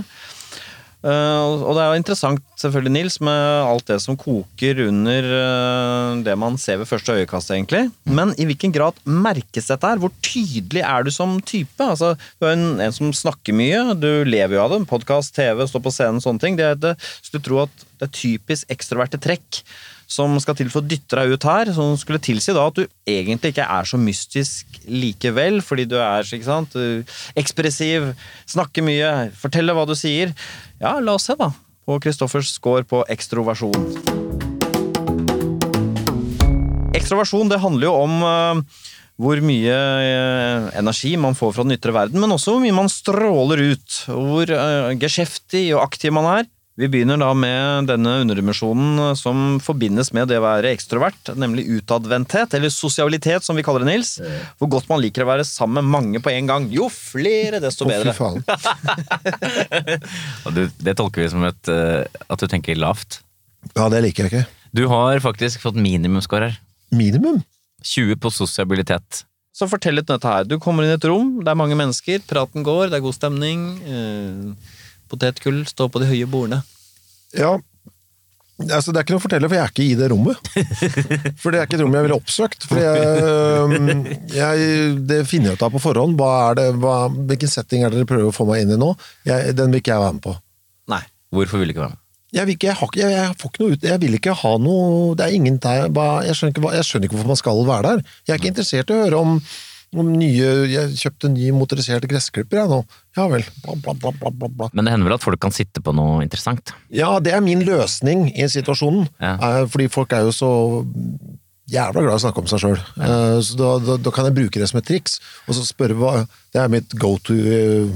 Eh, og og det er jo interessant selvfølgelig, Nils, med alt det som koker under eh, det man ser ved første øyekast. egentlig. Men i hvilken grad merkes dette? her? Hvor tydelig er du som type? Altså, Du er en, en som snakker mye, du lever jo av det. Podkast, TV, stå på scenen, sånne ting. Det er det, så du tror at det er typisk ekstroverte trekk som skal til for å dytte deg ut her, som skulle tilsi da at du egentlig ikke er så mystisk likevel, fordi du er ikke sant, du- ekspressiv, snakker mye, forteller hva du sier. Ja, la oss se da på Kristoffers score på ekstroversjon. Ekstroversjon det handler jo om eh, hvor mye eh, energi man får fra den ytre verden, men også hvor mye man stråler ut. og Hvor eh, geskjeftig og aktiv man er. Vi begynner da med denne underdimensjonen eh, som forbindes med det å være ekstrovert, nemlig utadvendthet, eller sosialitet som vi kaller det, Nils. Hvor godt man liker å være sammen med mange på en gang. Jo flere, desto
Å, fy
bedre.
faen.
Og du, det tolker vi som et, eh, at du tenker lavt.
Ja, det liker jeg ikke.
Du har faktisk fått minimumsscore her.
Minimum.
20 på sosialitet.
Så fortell litt om dette her. Du kommer inn i et rom, det er mange mennesker, praten går, det er god stemning. Eh, potetgull står på de høye bordene.
Ja. Altså, det er ikke noe å fortelle, for jeg er ikke i det rommet. For det er ikke et rom jeg ville oppsøkt. For jeg, øhm, jeg, det finner jeg ut av på forhånd. Hva er det, hva, hvilken setting er det dere prøver å få meg inn i nå? Jeg, den vil ikke jeg være med på.
Nei.
Hvorfor vil du ikke være med?
Jeg vil ikke, jeg, har, ikke- jeg, jeg får ikke noe ut Jeg vil ikke ha noe Det er ingen der hva- jeg skjønner, ikke, hva- jeg skjønner ikke hvorfor man skal være der. Jeg er ikke interessert i å høre om, om nye Jeg kjøpte en ny motorisert gressklipper, jeg nå. Ja vel. Bla, bla, bla, bla, bla, bla.
Men det hender vel at folk kan sitte på noe interessant?
Ja, det er min løsning i situasjonen.
Ja.
Eh, Fordi folk er jo så jævla glad i å snakke om seg sjøl. Så da, da, da kan jeg bruke det som et triks, og så spørre hva Det er mitt go to eh,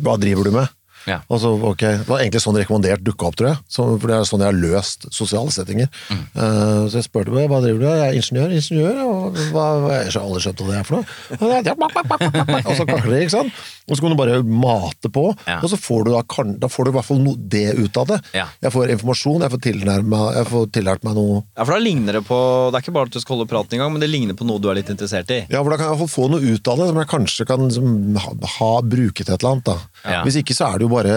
Hva driver du med?
Ja.
Og så, ok, Det var egentlig sånn rekommendert dukka opp, tror jeg. Så, for det er sånn jeg har løst sosiale settinger.
Mm.
Eh, så jeg spurte meg, hva driver du med. Jeg er ingeniør. ingeniør, og hva, hva Jeg har aldri skjønt hva det er for noe. Og, det er- og så kakler det, ikke sant. Og så kan du bare mate på,
Ja.
og så får du da, kan- da får du i hvert fall no, det ut av det.
Ja.
Jeg får informasjon, jeg får, tilnærma, jeg får tillært meg noe
Ja, for da ligner det på Det er ikke bare at du skal holde praten i gang, men det ligner på noe du er litt interessert i.
Ja, for da kan jeg i hvert fall få noe ut av det, som jeg kanskje kan liksom, ha, ha bruket et eller annet. Da.
Ja.
Hvis ikke så er det jo bare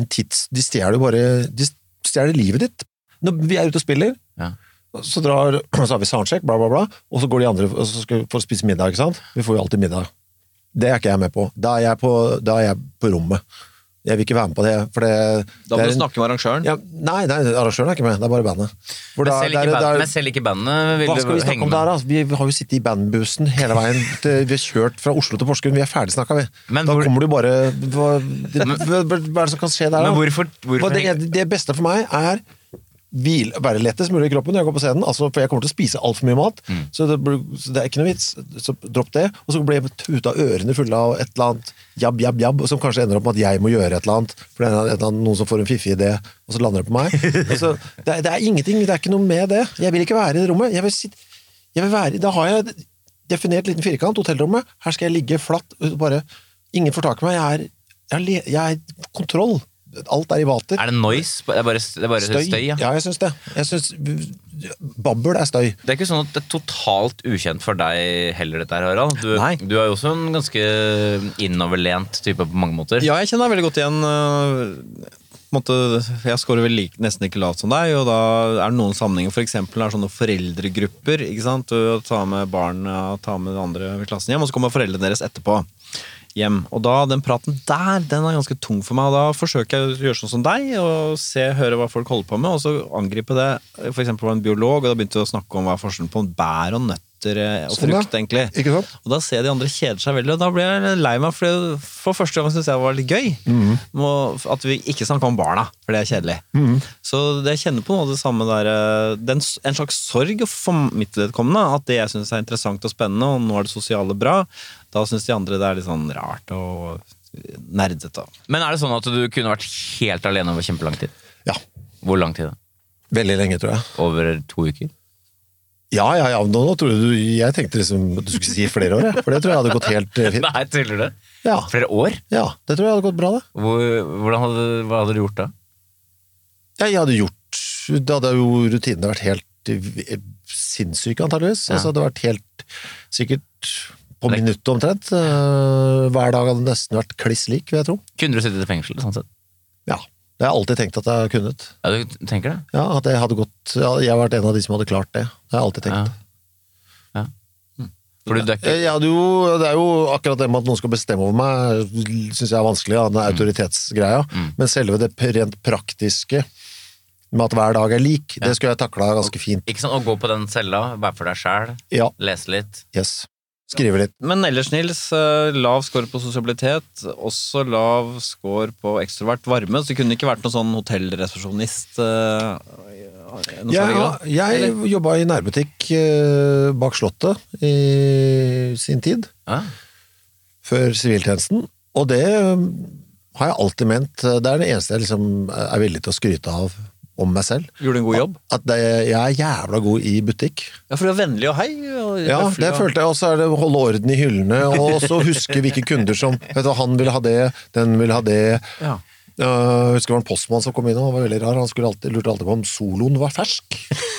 en tids... De stjeler jo bare De stjeler livet ditt. Når vi er ute og spiller,
Ja.
så, drar, [clears throat] så har vi soundcheck, bla, bla, bla, og så går de andre og så skal vi for å spise middag, ikke sant? Vi får jo alltid middag. Det er ikke jeg med på. Da er jeg på, da er jeg på rommet. Jeg vil ikke være med på det, for det
Da må
det er
du
en-
snakke med arrangøren.
ja, nei, nei, arrangøren er ikke med, det er bare bandet. For
Men
da-
selv
det er-
ikke
det er-
band- men selv ikke bandet vil
hva skal vi snakke om der, da? Vi har jo sittet i bandbussen hele veien. til- Vi har kjørt fra Oslo til Porsgrunn. Vi er ferdigsnakka, vi.
Men
da
hvor-
kommer du bare hva, det, hva, hva er det som kan skje der, da?
Men hvorfor- hvorfor-
Hva, det, det beste for meg er hvile, være lettest mulig i kroppen når jeg går på scenen. Altså, for jeg kommer til å spise altfor mye mat, så, det, blir- så det er ikke noe vits. Så dropp det. Og så blir jeg tuta ørene fulle av et eller annet jabb, jabb, jabb, som kanskje ender opp med at jeg må gjøre et eller annet. For det er et eller annet, noen som får en fiffig idé, og så lander det på meg. Og så, det, er- det er ingenting. Det er ikke noe med det. Jeg vil ikke være i det rommet. Jeg vil sitte, jeg vil være, i- da har jeg definert liten firkant, hotellrommet. Her skal jeg ligge flatt. bare, Ingen får tak i meg. Jeg er, jeg er, le- jeg er kontroll. Alt er i vater.
Er det noise? Det er bare, det er bare støy. ja.
Ja, jeg syns det. Jeg synes, babbel er støy.
Det er ikke sånn at det er totalt ukjent for deg heller, dette her, Harald. Du,
Nei.
du er jo også en ganske innoverlent type på mange måter.
Ja, jeg kjenner deg veldig godt igjen. øh, på en måte, Jeg scorer vel like, nesten ikke lavt som deg, og da er det noen sammenhenger. For eksempel når det er sånne foreldregrupper. ikke sant? Du tar med barna tar med de andre i klassen hjem, og så kommer foreldrene deres etterpå. hjem. Og da, Den praten der den er ganske tung for meg. og Da forsøker jeg å gjøre sånn som deg, og se, høre hva folk holder på med, og så angripe det. For eksempel var det en biolog, og da begynte vi å snakke om hva er forskjellen på bær og nøtter eh, og
Sånn, ja.
frukt. egentlig.
Ikke sant?
Og da ser jeg de andre kjeder seg veldig, og da blir jeg lei meg, for det- for første gang syns jeg det var litt gøy.
Mhm.
Må- At vi ikke snakka om barna, for det er kjedelig. Så det jeg kjenner på noe av det samme der eh, det er en s- En slags sorg for mitt vedkommende. At det jeg syns er interessant og spennende, og nå er det sosiale bra, da syns de andre det er litt sånn rart og nerdete.
Men er det sånn at du kunne vært helt alene over kjempelang tid?
Ja.
Hvor lang tid? da?
Veldig lenge, tror jeg.
Over
[laughs]
to uker?
Ja, ja, ja. Nå, nå tror jeg du Jeg tenkte liksom at du skulle si flere år, jeg. For det tror jeg hadde gått helt eh, fint.
[laughs] Nei, tuller du?
Ja.
Flere år?
ja. Det tror jeg hadde gått bra, det.
Hvor, hvordan hadde, hva hadde du gjort da?
Ja, jeg hadde gjort Da hadde jo rutinene vært helt eh, sinnssyke, antageligvis. Altså, det hadde vært helt sikkert på
Det-
minuttet omtrent. Eh, Hver dag hadde det nesten vært kliss lik, vil jeg tro.
Kunne du sittet i fengsel? sånn sett?
Ja. Det har jeg alltid tenkt at jeg har kunnet.
Ja, du tenker det?
Ja, at jeg hadde gått ja, Jeg har vært en av de som hadde klart det. Det har jeg alltid tenkt.
Ja. For du døkker
Jeg hadde jo, Eh, det er jo akkurat det med at noen skal bestemme over meg, syns jeg er vanskelig. da, Den autoritetsgreia. Men selve det p- rent praktiske med at hver dag er lik, det skulle jeg takla ganske fint.
Ikke sånn å gå på den cella, være for deg sjæl,
Ja,
lese litt.
yes. Skrive litt.
Men ellers, Nils, eh, lav score på sosialitet, også lav score på ekstrovert varme. Så det kunne ikke vært noen sånn hotellresepsjonist? eh, i noe særlig
Jeg,
grad.
jeg jobba i nærbutikk eh, bak Slottet i sin tid.
Ja.
før siviltjenesten, og det øhm, har jeg alltid ment. eh, Det er det eneste jeg liksom er villig til å skryte av om meg selv.
Gjorde du en god jobb?
At det, jeg er jævla god i butikk.
Ja, for du er vennlig og hei. Og
Ja,
høflig
det
og-
følte jeg. Og så er det å holde orden i hyllene, og så huske hvilke kunder som vet du, hva, Han ville ha det, den ville ha det.
Ja.
Øh, jeg husker det var en postmann som kom inn, og han var veldig rar. Han skulle alltid, lurte alltid på om soloen var
[laughs]
fersk.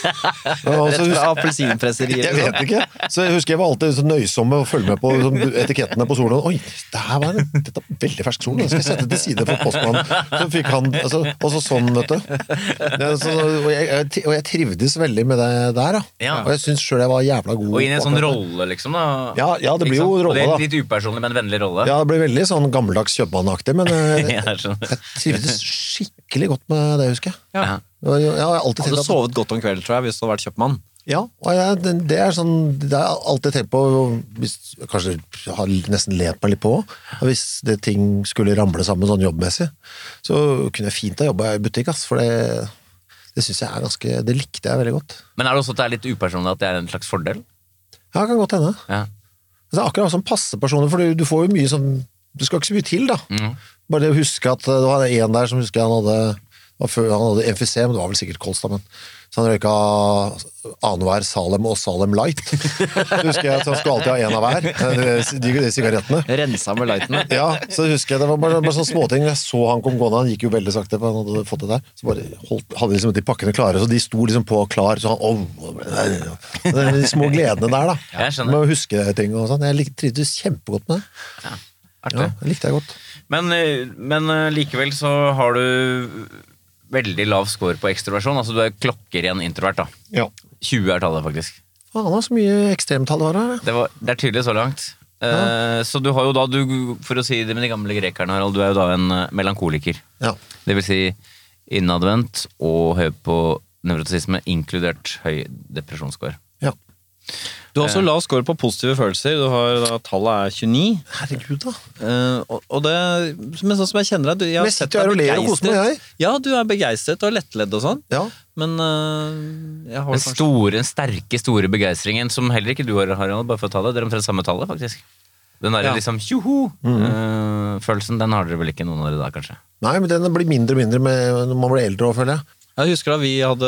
Og
Rett
så husker-
fra liksom. appelsinpresseriet.
[laughs] Jeg vet ikke. Så jeg husker jeg var alltid så nøysom med å følge med på sånn etikettene på solen. Oi, det her var en, dette er veldig fersk sol, den skal jeg sette til side for postmannen. Så fikk han, altså, og så sånn, vet du. Det, er så, og, jeg, jeg tri- og jeg trivdes veldig med det der, da.
Ja.
Og jeg syns sjøl jeg var jævla god.
Og inn i en
på
sånn
akkurat det.
rolle, liksom. da
Ja, ja, det
Ikke
blir jo
sant? Og
rolle,
det er
da.
Litt upersonlig, men vennlig rolle.
Ja, det ble veldig sånn gammeldags kjøpmannaktig, men
[laughs]
eh,
Jeg skjønner.
jeg trivdes skikkelig godt med det, husker jeg.
Ja.
Og Jeg, jeg har alltid
Hadde
tenkt at
sovet godt om kvelden, tror jeg, hvis du hadde vært kjøpmann.
Ja, og jeg, det, det er sånn Det har jeg alltid tenkt på hvis, Kanskje jeg har nesten let meg litt på og Hvis det ting skulle ramle sammen sånn jobbmessig Så kunne jeg fint ha jobbet i butikk ass, For det, det synes jeg er ganske Det likte jeg veldig godt
Men er det også at det er litt upersonlig at det er en slags fordel?
Ja, det kan godt hende
Ja.
Det er akkurat som passepersoner For du, du får jo mye sånn Du skal ikke så mye til da Bare det å huske at eh, det var en der som husker jeg han hadde han før- han hadde emfysem, det var vel sikkert Kolstad, men Så han røyka annenhver Salem og Salem Light. [laughs] Det husker jeg at han skulle alltid ha én av hver, eh, de, de sigarettene.
Rensa med lightene.
Ja, så husker jeg Det var bare, bare sånne småting. Jeg så han kom gående, han gikk jo veldig sakte. for han hadde fått det der. Så bare holdt, hadde liksom de pakkene klare, så de sto liksom på klar. så han, «Åh, det er De små gledene der, da.
Ja, jeg skjønner.
Med å huske ting og sånn. Jeg lik- trivdes kjempegodt med det. Ja,
Artig.
det likte jeg godt.
Men, eh, men eh, likevel så har du veldig lav score på ekstroversjon. Altså du er klokkeren introvert, da.
Ja.
20 er tallet, faktisk.
Faen, det var så mye ekstremtall det var her. da.
Det, var, det er tydelig så langt. Eh, Så du har jo da, du, for å si det med de gamle grekerne, Harald, du er jo da en eh, melankoliker.
Ja.
Det vil si innadvendt og høy på nevrotisisme, inkludert høy depresjonsscore.
ja.
[laughs] Du har også lav score på positive følelser. Du har da, Tallet er 29.
Herregud, da.
Eh, og, og det, men sånn som jeg kjenner deg du, jeg har
Men jeg
sett
sitter jo her
deg
og ler og koser meg,
begeistret. Ja, du er begeistret og lettledd og sånn.
Ja.
Men eh, jeg har
Den
kanskje
store, den sterke, store begeistringen som heller ikke du har, Harald, bare for å ta det. Dere er omtrent samme tallet, faktisk. Den derre
Ja.
liksom tjoho!
Mm.
eh, følelsen, den har dere vel ikke noen av dere da, kanskje?
Nei, men den blir mindre og mindre med, når man blir eldre òg, føler jeg.
Jeg husker da vi hadde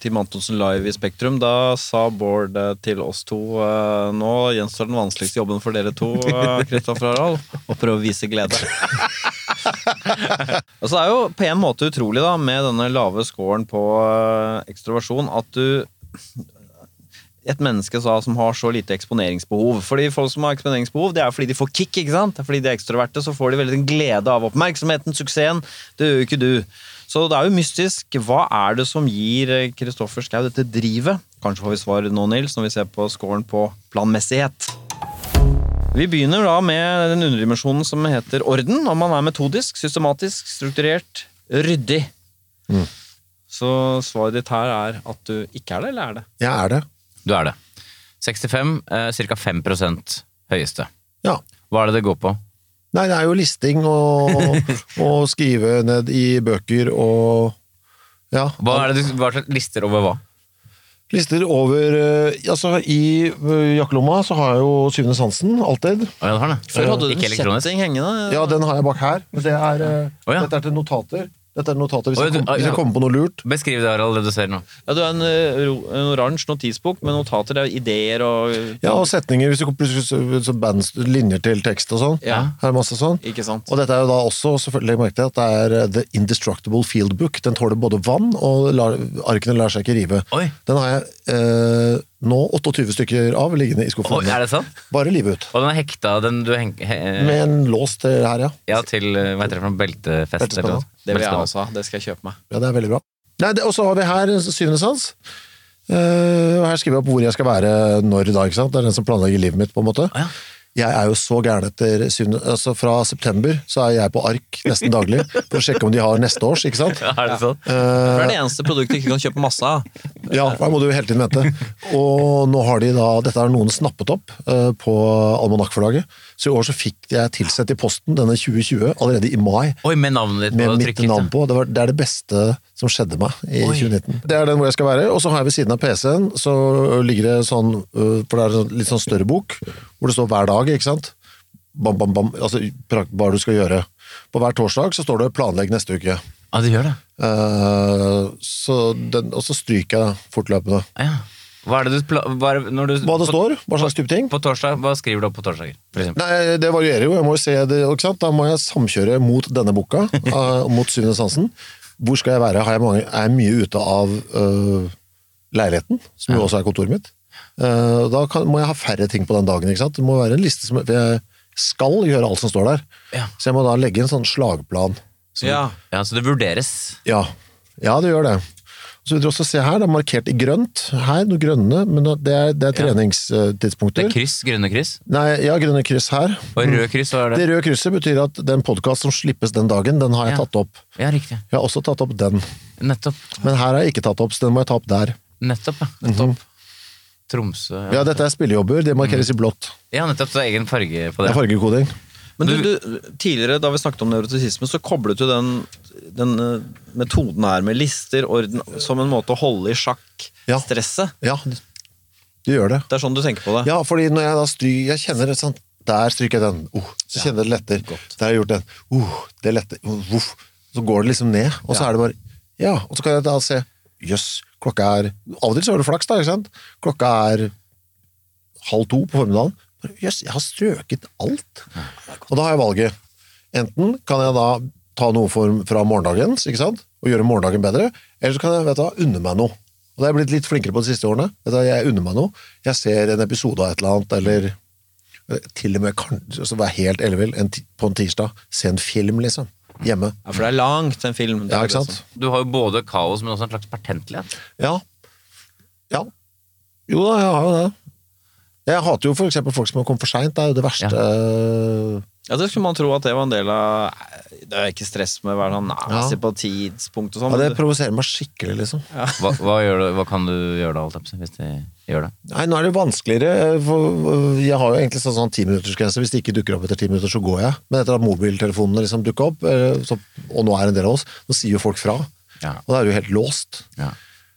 Team Antonsen live i Spektrum. Da sa Bård eh, til oss to eh, Nå gjenstår den vanskeligste jobben for dere to, [laughs] eh, Kristoffer og Harald, å prøve å vise [laughs] glede. altså, det er jo på en måte utrolig da, med denne lave scoren på eh, ekstroversjon at du et menneske sa, som har så lite eksponeringsbehov. Fordi Folk som har eksponeringsbehov, det er fordi de får kick. ikke sant? Det er Fordi de er ekstroverte, så får de veldig en glede av oppmerksomheten, suksessen. Det gjør jo ikke du. Så det er jo mystisk. Hva er det som gir eh, Kristoffer Schau dette drivet? Kanskje får vi svar nå, Nils, når vi ser på scoren på planmessighet. Vi begynner da med den underdimensjonen som heter orden. Om man er metodisk, systematisk, strukturert, ryddig. Så svaret ditt her er at du ikke er det, eller er det?
Jeg er det.
Du er det. 65, eh, ca. 5 høyeste.
Ja.
Hva er det det går på?
Nei, det er jo listing
[laughs]
og, og skrive ned i bøker og ja.
Hva er det du hva slags lister over hva?
Lister over eh, altså I eh, jakkelomma så har jeg jo syvende sansen, alltid.
Å, ja, du har det.
Før hadde du
ikke
en
elektronisk.
kjetting hengende.
Ja, den har jeg bak her. Men det er, eh,
Å, ja.
Dette er til notater. Dette er notater Hvis,
Å,
jeg,
ja, du-
kom, hvis
ja.
jeg kommer på noe lurt.
Beskriv det, Harald, det du ser nå.
Ja, du har en, eh, ro- en oransje notisbok med notater, det er jo ideer og
Ja, Og setninger. Hvis du kom- plutselig så- så bands, linjer til tekst og sånn.
Ja.
Her er masse sånn.
Ikke sant?
Og dette er jo da også, selvfølgelig merkte jeg, at det er eh, The Indestructible Field Book. Den tåler både vann, og lar, arkene lar seg ikke rive.
Oi.
Den har jeg eh, nå 28 stykker av liggende i skuffen.
Oi, er det sant?
Bare livet ut.
Og den er hekta, den du heng... He,
Med en lås til her, ja.
ja, til eh, Hva heter det for noe? Beltefest?
Beltespenna.
eller noe?
Det vil jeg
Beltespenna.
også ha. Det skal jeg kjøpe meg.
Ja, det er veldig bra. Nei, det, og så har vi her syvende sans. Eh, og her skriver jeg opp hvor jeg skal være når da, ikke sant? Det er den som planlegger livet mitt, på en måte.
ja.
Jeg er jo så gæren etter syvende, altså fra september så er jeg på ark nesten daglig for å sjekke om de har neste års, ikke sant? Eh,
Ja, [laughs] er det sant?
For det er det eneste produktet du ikke kan kjøpe masse av.
Ja, da må du jo hele tiden vente. Og nå har de da, dette har noen snappet opp eh, på Almanakkforlaget, så i år så fikk jeg tilsett i posten denne 2020 allerede i mai.
Oi, med navnet ditt
Med
på
mitt
trykket.
navn på. Det, var, det er det beste som skjedde meg i 2019. Det er den hvor jeg skal være. Og så har jeg ved siden av PC-en, så ligger det sånn øh, For det er en litt sånn større bok, hvor det står hver dag, ikke sant. Bam, bam, bam. Altså pra- hva du skal gjøre. På hver torsdag så står det 'planlegg neste uke'.
Ja, du gjør det.
Eh, så den, og så stryker jeg det fortløpende.
Ja. Hva er det du pla... Hva er, det- når du,
Hva det
på,
står, hva slags type ting.
På torsdag, hva skriver du opp på torsdager? For eksempel?
Nei, Det varierer jo. Jeg må jo se det, ikke sant? Da må jeg samkjøre mot denne boka, [laughs] eh, mot syvende sansen. Hvor skal jeg være? Har jeg mange, er jeg mye ute av eh, leiligheten, som jo også er kontoret mitt? Eh, da kan, må jeg ha færre ting på den dagen. ikke sant? Det må være en liste som for Jeg skal gjøre alt som står der.
Ja.
Så jeg må da legge en sånn slagplan. som-
Ja.
Ja, så det vurderes.
ja. ja, det gjør det. Så vil dere også se her, Det er markert i grønt. Her, noe grønne, men det er, det er
Det er
treningstidspunkter.
kryss, grønne kryss.
Nei, ja, grønne kryss her.
Og rød kryss, hva er det?
Det røde krysset betyr at den podkast som slippes den dagen, den har jeg
Ja.
tatt opp.
Ja, riktig.
Jeg har også tatt opp den,
Nettopp.
men her har jeg ikke tatt opp, så den må jeg ta opp der. Mhm.
Nettopp, ja. Nettopp. Tromsø ja.
Ja, dette er spillejobber, det markeres i blått.
ja, nettopp. Så det er egen
Mhm.
farge på
Det
det.
er fargekoding.
Men du, du, tidligere, da vi snakket om nevrotisisme, så koblet du den, den eh, metoden her med lister, orden, som en måte å holde i sjakk
Ja.
stresset.
Ja, du gjør det.
Det er sånn du tenker på det.
Ja, fordi når jeg da stryker Jeg kjenner det sånn Der stryker jeg den. Oh, så kjenner jeg det letter. Der har jeg gjort den. Oh, det letter. Oh, voff. Så går det liksom ned, og så er det bare Ja, og så kan jeg da se jøss, klokka er Av og til så har du flaks, da, ikke sant? Klokka er halv to på formiddagen. Bare, Jøss, jeg har strøket alt. Og da har jeg valget. Enten kan jeg da ta noe for, fra morgendagens, ikke sant? Og gjøre morgendagen bedre, eller så kan jeg, vet du, hva, unne meg noe. Og da har jeg blitt litt flinkere på de siste årene. Vet du, hva, jeg unner meg noe. Jeg ser en episode av et eller annet, eller eller til og med kanskje, altså være helt ellevill en ti- på en tirsdag, se en film, liksom. Hjemme.
Ja, for det er langt, en film. Det
Ja,
er
ikke
det
sant?
som-
Du har jo både kaos, men også en slags pertentlighet.
Ja. Ja. Jo da, jeg har jo det. Jeg hater jo for eksempel folk som har kommet for seint. Det er jo det verste eh,
Ja, det skulle man tro at det var en del av eh, Det er ikke stress med å være sånn nei,
Ja.
se på tidspunkt og sånn.
ja, Det
men det-
provoserer meg skikkelig, liksom.
Hva, hva, gjør du, hva kan du gjøre da, holdt jeg på å si, hvis de gjør det?
Nei, nå er det vanskeligere. For jeg har jo egentlig sånn, sånn 10-minuttersgrense. Hvis det ikke dukker opp etter ti minutter, så går jeg. Men etter at mobiltelefonene liksom dukka opp, eh, så, og nå er en del av oss, nå sier jo folk fra.
Ja.
Og da er du helt låst.
Ja.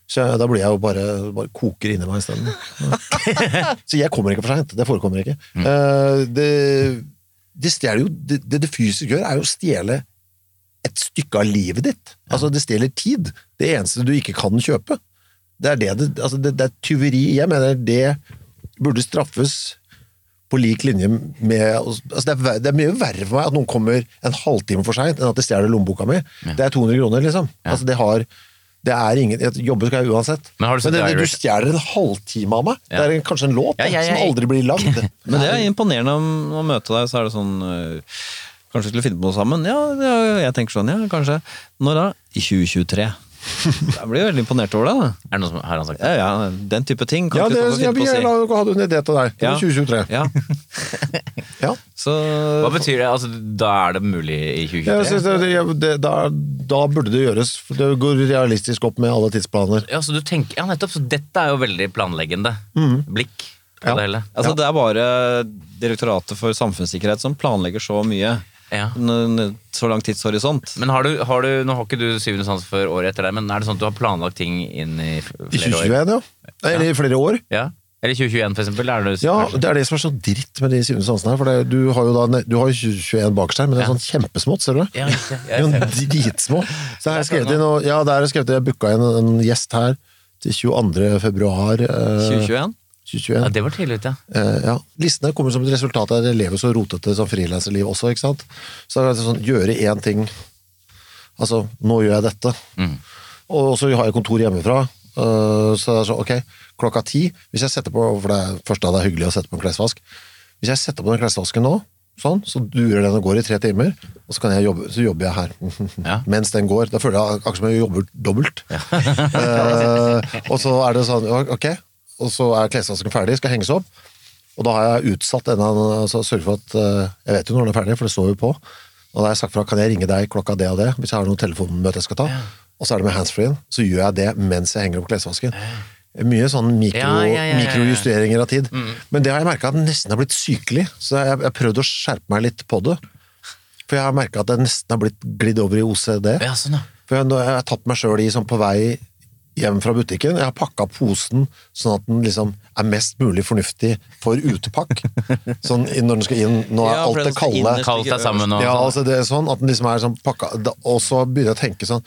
Så jeg, da blir jeg jo bare, bare koker inni meg isteden. Ja. så jeg kommer ikke for seint. Det forekommer ikke. Eh, det, det, stjeler jo, det, det det fysisk gjør, er jo å stjele et stykke av livet ditt. Altså, det stjeler tid. Det eneste du ikke kan kjøpe. Det er, det, det, altså det, det er tyveri. Jeg mener det burde straffes på lik linje med altså det, er, ver- det er mye verre for meg at noen kommer en halvtime for seint, enn at de stjeler lommeboka mi. Det er 200 kroner, liksom. Altså det har det er ingen, jeg jobber skal jeg uansett.
Men har du sett
det, det,
Irish?
du stjeler en halvtime av meg. Det er en, kanskje en låt
Ja,
da,
jeg- jeg-
som aldri blir lagd.
Men det er imponerende om å møte deg, så er det sånn øh, Kanskje vi skulle finne på noe sammen? Ja, ja, jeg tenker sånn, ja, kanskje. Når da? I 2023. Jeg blir veldig imponert over det. da.
Er det noe som, har han sagt det?
Ja, ja, Den type ting kan
Ja,
ikke
det,
du stå og finne
jeg,
på å
jeg,
si.
la- hadde en idé til deg. Det var 2023.
Ja,
Ja.
så
Hva betyr det? Altså, da er det mulig i
Ja, Jeg
2023?
synes det, det, det, da, da burde det gjøres. for Det går realistisk opp med alle tidsplaner.
Ja, så du tenker, ja, nettopp. Så dette er jo veldig planleggende blikk
Mm.
på
Ja.
det hele.
Altså, Det er bare Direktoratet for samfunnssikkerhet som planlegger så mye.
Ja.
N- n- Så lang tidshorisont.
Men har du, har du, nå har ikke du syvende sans for året etter deg, men er det sånn at du har planlagt ting inn i f-
I
flere år?
2021, ja. Eller i flere år.
Ja. Eller 2021, for eksempel? Er det,
Ja, det er det som er så dritt med de syvende sansene her. For det, du har jo da ne- du har jo 21 bakerst her, men det er
Ja.
sånn kjempesmått, ser du det?
Ja, jeg ser- jeg
Det er
ser
jo dritsmå. Så her
Jeg ser
skrev
det
de noe, ja, der er det skrevet, jeg booka inn en gjest her til 22. februar eh,
2021.
2021.
ja, det var tidlig ute, ja.
Eh, ja. Listene kommer som et resultat av at jeg lever så rotete som frilanserliv også, ikke sant? Så det er sånn, gjøre én ting. Altså, nå gjør jeg dette. Og så har jeg kontor hjemmefra, eh, så det er sånn, ok, klokka ti, hvis jeg setter på, for det er først da det er hyggelig å sette på en klesvask, hvis jeg setter på den klesvasken nå, sånn, så durer den og går i tre timer, og så, kan jeg jobbe, så jobber jeg her. [laughs]
Ja.
Mens den går, da føler jeg akkurat som jeg jobber dobbelt. Eh, og så er det sånn, ok, og så er klesvasken ferdig, skal henges opp, og da har jeg utsatt denne, altså sørget for at eh, Jeg vet jo når den er ferdig, for det står jo på. Og da har jeg sagt fra kan jeg ringe deg klokka det og det hvis jeg har noe telefonmøte jeg skal ta. Og så er det med handsfree-en. Så gjør jeg det mens jeg henger opp klesvasken. Mye sånn mikro,
Ja, ja, ja, Mm. ja, ja.
mikrojusteringer av tid. Men det har jeg merka at nesten har blitt sykelig. Så jeg jeg har prøvd å skjerpe meg litt på det. For jeg har merka at jeg nesten har blitt glidd over i OCD.
Ja, sånn, ja.
For jeg, nå- jeg har tatt meg sjøl i sånn på vei hjem fra butikken. Jeg har pakka posen sånn at den liksom er mest mulig fornuftig for utepakk. Sånn i- når den skal inn. Nå er
Ja, for
alt
den
det
skal
kalde.
innerst
Kalt deg sammen og
Ja, altså det er sånn at den liksom er sånn pakka da- Og så begynner jeg å tenke sånn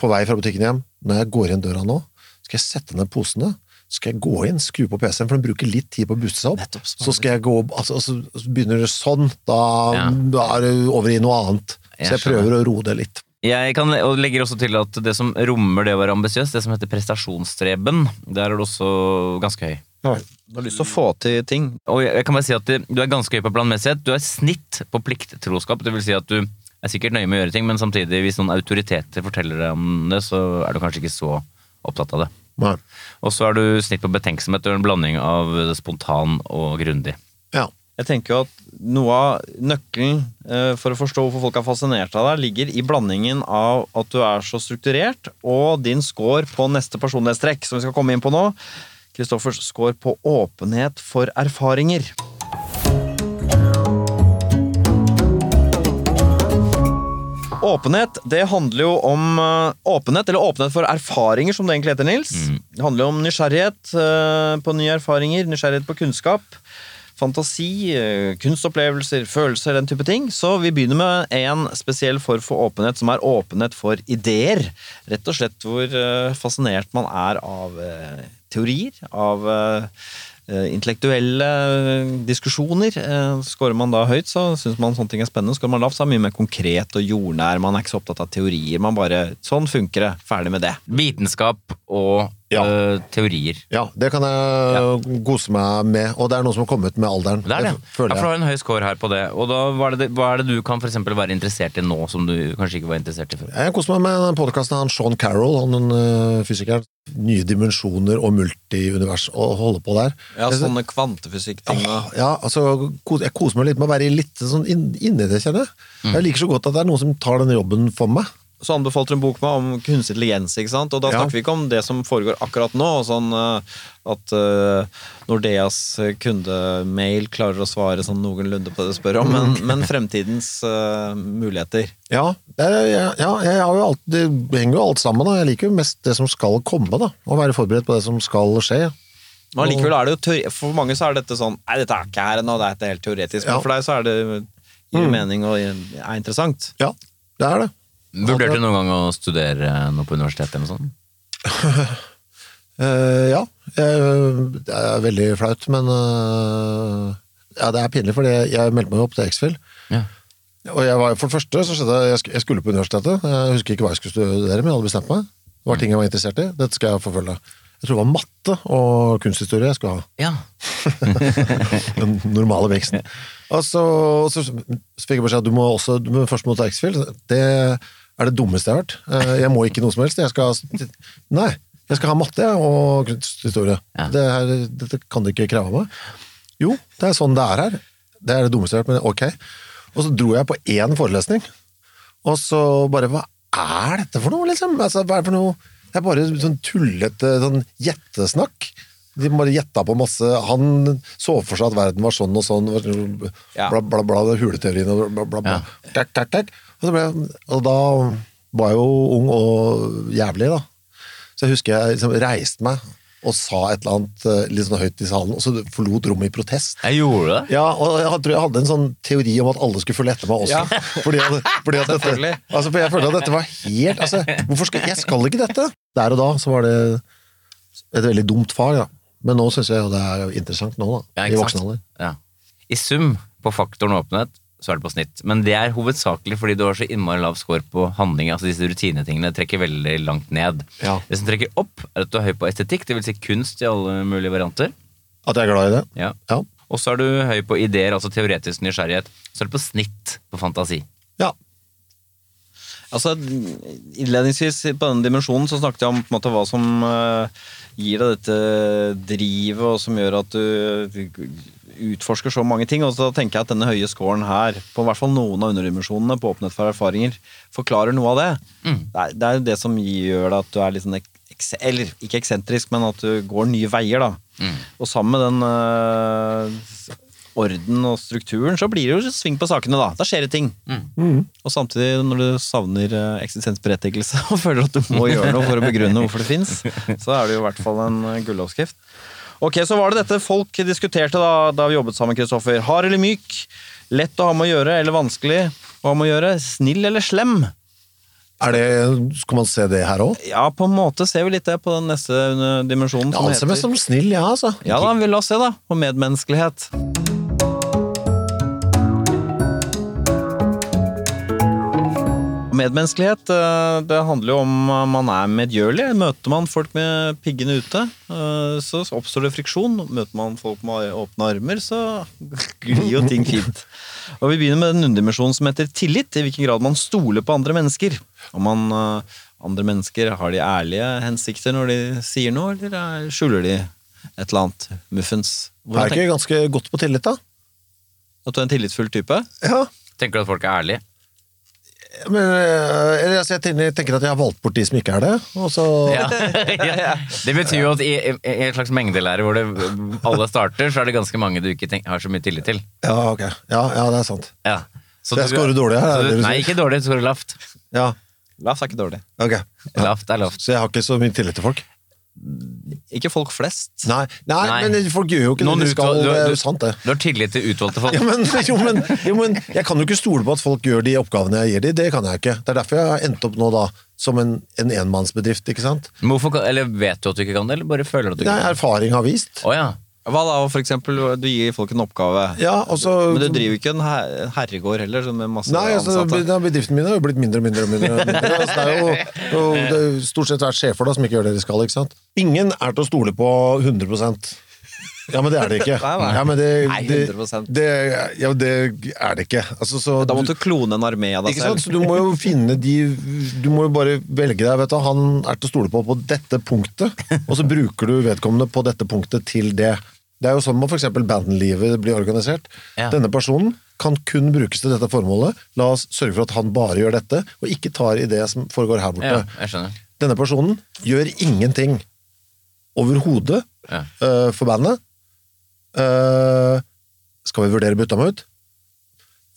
På vei fra butikken hjem, når jeg går inn døra nå Skal jeg sette ned posene så skal jeg gå inn, skru på PC-en, for den bruker litt tid på å busse seg opp.
Nettopp, smart.
så skal jeg gå opp, altså, altså, så begynner det sånn, da,
Ja.
da er det over i noe annet. Så
Jeg
jeg prøver å roe det litt.
Jeg kan, og legger også til at det som rommer det å være ambisiøs, det som heter prestasjonsstreben, der er du også ganske høy.
Du har lyst til å få til ting.
Og jeg jeg kan bare si at det- du er ganske høy på planmessighet. Du er snitt på plikttroskap. Det vil si at du er sikkert nøye med å gjøre ting, men samtidig, hvis noen autoriteter forteller deg om det, så er du kanskje ikke så opptatt av det.
Nei.
Og så er du snitt på betenksomhet. Du er en blanding av spontan og grundig.
Ja.
Jeg tenker jo at noe av nøkkelen eh, for å forstå hvorfor folk er fascinert av deg, ligger i blandingen av at du er så strukturert, og din score på neste personlighetstrekk, som vi skal komme inn på nå. Kristoffers score på åpenhet for erfaringer. Åpenhet det handler jo om eh, åpenhet, eller åpenhet for erfaringer, som det egentlig heter, Nils. Det handler jo om nysgjerrighet eh, på nye erfaringer, nysgjerrighet på kunnskap. fantasi, eh, kunstopplevelser, følelser, den type ting. Så vi begynner med en spesiell form for åpenhet, som er åpenhet for ideer. Rett og slett hvor eh, fascinert man er av eh, teorier, av eh, eh, intellektuelle eh, diskusjoner. Eh, Skårer man da høyt, så syns man sånne ting er spennende. Skårer man lavt, så er man mye mer konkret og jordnær. Man er ikke så opptatt av teorier. Man bare Sånn funker det. Ferdig med det.
Vitenskap og
Ja.
øh, teorier.
Ja, det kan jeg kose meg med. Og det er noen som har kommet med alderen.
Det er det. Ja, for
føler
du
jeg.
har en høy score her på det. Og da, hva, er det, hva er det du kan for eksempel være interessert i nå, som du kanskje ikke var interessert i før?
Jeg koser meg med den podkasten av han Sean Carroll, han den, øh, fysikeren. Nye dimensjoner og multiunivers og holde på der.
Ja, sånne kvantefysikkting og
Ja, altså, ko- Jeg koser meg litt med å være litt sånn inn- inni det, kjenner jeg.
Mm.
Jeg liker så godt at det er noen som tar den jobben for meg.
så anbefalte du en bok med om kunstig intelligens. ikke sant? Og da
Ja.
snakker vi ikke om det som foregår akkurat nå, og sånn eh, at eh, Nordeas eh, kundemail klarer å svare sånn noenlunde på det du spør om, men, men fremtidens eh, muligheter.
Ja, jeg, jeg, ja, jeg har jo alt, det henger jo alt sammen. da. Jeg liker jo mest det som skal komme, da. Å være forberedt på det som skal skje.
Men allikevel er det jo teori- For mange så er dette sånn Nei, dette er ikke her ennå, det er dette helt teoretisk.
Ja.
Men for deg så er det gir mening og er interessant.
Ja, det er det. altså-
Vurderte du noen gang å studere noe på universitetet eller noe sånt?
Eh, ja. Eh, det er veldig flaut, men eh, ja, det er pinlig, for jeg meldte meg jo opp til X-Fill.
Ja.
Og jeg var, for det første så skjedde jeg, sk- jeg skulle på universitetet. Jeg husker ikke hva jeg skulle studere, men jeg hadde bestemt meg. Det var ting jeg var interessert i. Dette skal jeg forfølge. Jeg tror det var matte og kunsthistorie jeg skulle ha.
ja.
[laughs] Den normale veksten. Og så, og så fikk jeg beskjed at du må også du må først må ta X-Fill. Det er det dummeste jeg har hørt. Eh, Jeg må ikke noe som helst. Jeg skal, nei, jeg skal ha matte jeg, og kunsthistorie.
Ja.
Det her, dette kan du ikke kreve av meg. Jo, det er sånn det er her. Det er det dummeste jeg har hørt, men ok. Og så dro jeg på én forelesning, og så bare Hva er dette for noe, liksom? Altså, hva er det for noe? Det er bare sånn tullete sånn gjettesnakk. De bare gjetta på masse Han så for seg at verden var sånn og sånn, var-
Ja.
bla, bla, bla, det er huleteorien og bla, bla, bla. Takk, takk, takk. Og, så ble, jeg- og da var jeg jo ung og jævlig, da. Så jeg husker jeg liksom reiste meg og sa et eller annet eh, litt sånn høyt i salen, og så forlot rommet i protest.
Jeg gjorde det.
Ja, og jeg tror jeg hadde en sånn teori om at alle skulle følge etter meg også.
Ja.
Fordi at, fordi at dette,
Selvfølgelig.
altså, for jeg følte at dette var helt altså, hvorfor skal, Jeg skal ikke dette! Der og da så var det et veldig dumt fag, da. Men nå syns jeg jo det er interessant nå, da.
Ja,
I
ikke
voksen
sant?
alder.
Ja. I sum på faktoren åpenhet, så er det på snitt. Men det er hovedsakelig fordi du har så innmari lav score på handling. Altså disse rutinetingene trekker veldig langt ned.
Ja.
Det som trekker opp, er at du er høy på estetikk, det vil si kunst i alle mulige varianter.
At jeg er glad i det?
Ja.
Ja.
Og så er du høy på ideer, altså teoretisk nysgjerrighet. Så er du på snitt på fantasi.
ja.
Altså, Innledningsvis på denne dimensjonen så snakket jeg om på en måte, hva som eh, gir deg dette drivet, og som gjør at du utforsker så mange ting. Og så tenker jeg at denne høye scoren her, på i hvert fall noen av underdimensjonene på åpenhet for erfaringer, forklarer noe av det. Det, er, det er jo det som gjør det at du er litt sånn ek- ekse- eller ikke eksentrisk, men at du går nye veier, da. Og sammen med den eh, orden og strukturen, så blir det jo sving på sakene, da. Da skjer det ting. Og samtidig, når du savner eh, eksistensberettigelse [laughs] og føler at du må gjøre noe for å begrunne hvorfor det fins, så er det jo i hvert fall en eh, gulloppskrift. Ok, så var det dette folk diskuterte da, da vi jobbet sammen, Kristoffer. Hard eller myk? Lett å ha med å gjøre eller vanskelig å ha med å gjøre? Snill eller slem?
Er det, skal man se det her òg?
Ja, på en måte ser vi litt det på den neste eh, dimensjonen. som
Anser meg
heter-
som snill, jeg, ja, altså.
Ja da, vi la oss se da, på medmenneskelighet. Medmenneskelighet eh, det handler jo om eh, man er medgjørlig. Møter man folk med piggene ute, eh, så oppstår det friksjon. Møter man folk med åpne armer, så [laughs] glir jo ting fint. Og Vi begynner med den underdimensjonen som heter tillit. I hvilken grad man stoler på andre mennesker. Om man, eh, andre mennesker har de ærlige hensikter når de sier noe, eller eh, skjuler de et eller annet muffens?
Er
Hvordan
jeg
tenker
ikke ganske godt på tillit, da?
du at du er en tillitsfull type?
Ja.
Tenker du at folk er ærlige?
Men, øh, eller, altså, jeg tenker tenker at jeg har valgt bort de som ikke er det, og så [laughs]
Ja. Ja. Det betyr jo at i, i, i en slags mengdelære hvor det, alle starter, så er det ganske mange du ikke tenk, har så mye tillit til.
Ja, ok. Ja, ja, det er sant.
Ja. Så
Jeg scorer dårlig her,
så
er det det du
Nei,
sier?
ikke dårlig, du scorer lavt.
Ja,
Lafs er ikke dårlig.
ok.
Lavt er lavt.
Så jeg har ikke så mye tillit til folk.
Ikke folk flest.
Nei, nei,
Nei.
men folk gjør jo ikke
Noen
det de skal.
utvalg- du-
det er
du-
jo sant, det.
Du har tillit til utvalgte folk.
Ja, men, [laughs] jo, men, jo, men jeg kan jo ikke stole på at folk gjør de oppgavene jeg gir dem. Det kan jeg ikke. Det er derfor jeg har endt opp nå da, som en, en enmannsbedrift, ikke sant?
Men Hvorfor, kan- eller vet du at du ikke kan det, eller bare føler du at du
Det er
ikke kan det?
erfaring har vist.
Å ja.
Hva da, for eksempel, du gir folk en oppgave.
Ja, og så-
Men du driver jo ikke en her- en herregård heller, sånn med masse
Nei, altså,
ansatte.
da, bedriften min har jo blitt mindre og mindre. og mindre, og
[laughs]
mindre. Altså, det er jo, og det er jo stort sett vært sjefer da, som ikke gjør det de skal. ikke sant? Ingen er til å stole på 100 ja, men det er det ikke.
Nei, nei.
Ja, men det,
Nei,
det,
100%.
det, ja, det er det ikke. Altså, så,
Da måtte du klone en armé av deg
Ikke sant?
selv.
Så du må jo finne de Du må jo bare velge deg. Vet du, han er til å stole på på dette punktet, og så bruker du vedkommende på dette punktet til det. Det er jo sånn man f.eks. bandlivet blir organisert.
Ja.
Denne personen kan kun brukes til dette formålet. La oss sørge for at han bare gjør dette, og ikke tar i det som foregår her borte.
ja, jeg skjønner.
[laughs] Denne personen gjør ingenting overhodet
Ja.
eh, for bandet. Eh, skal vi vurdere å bytte ham ut?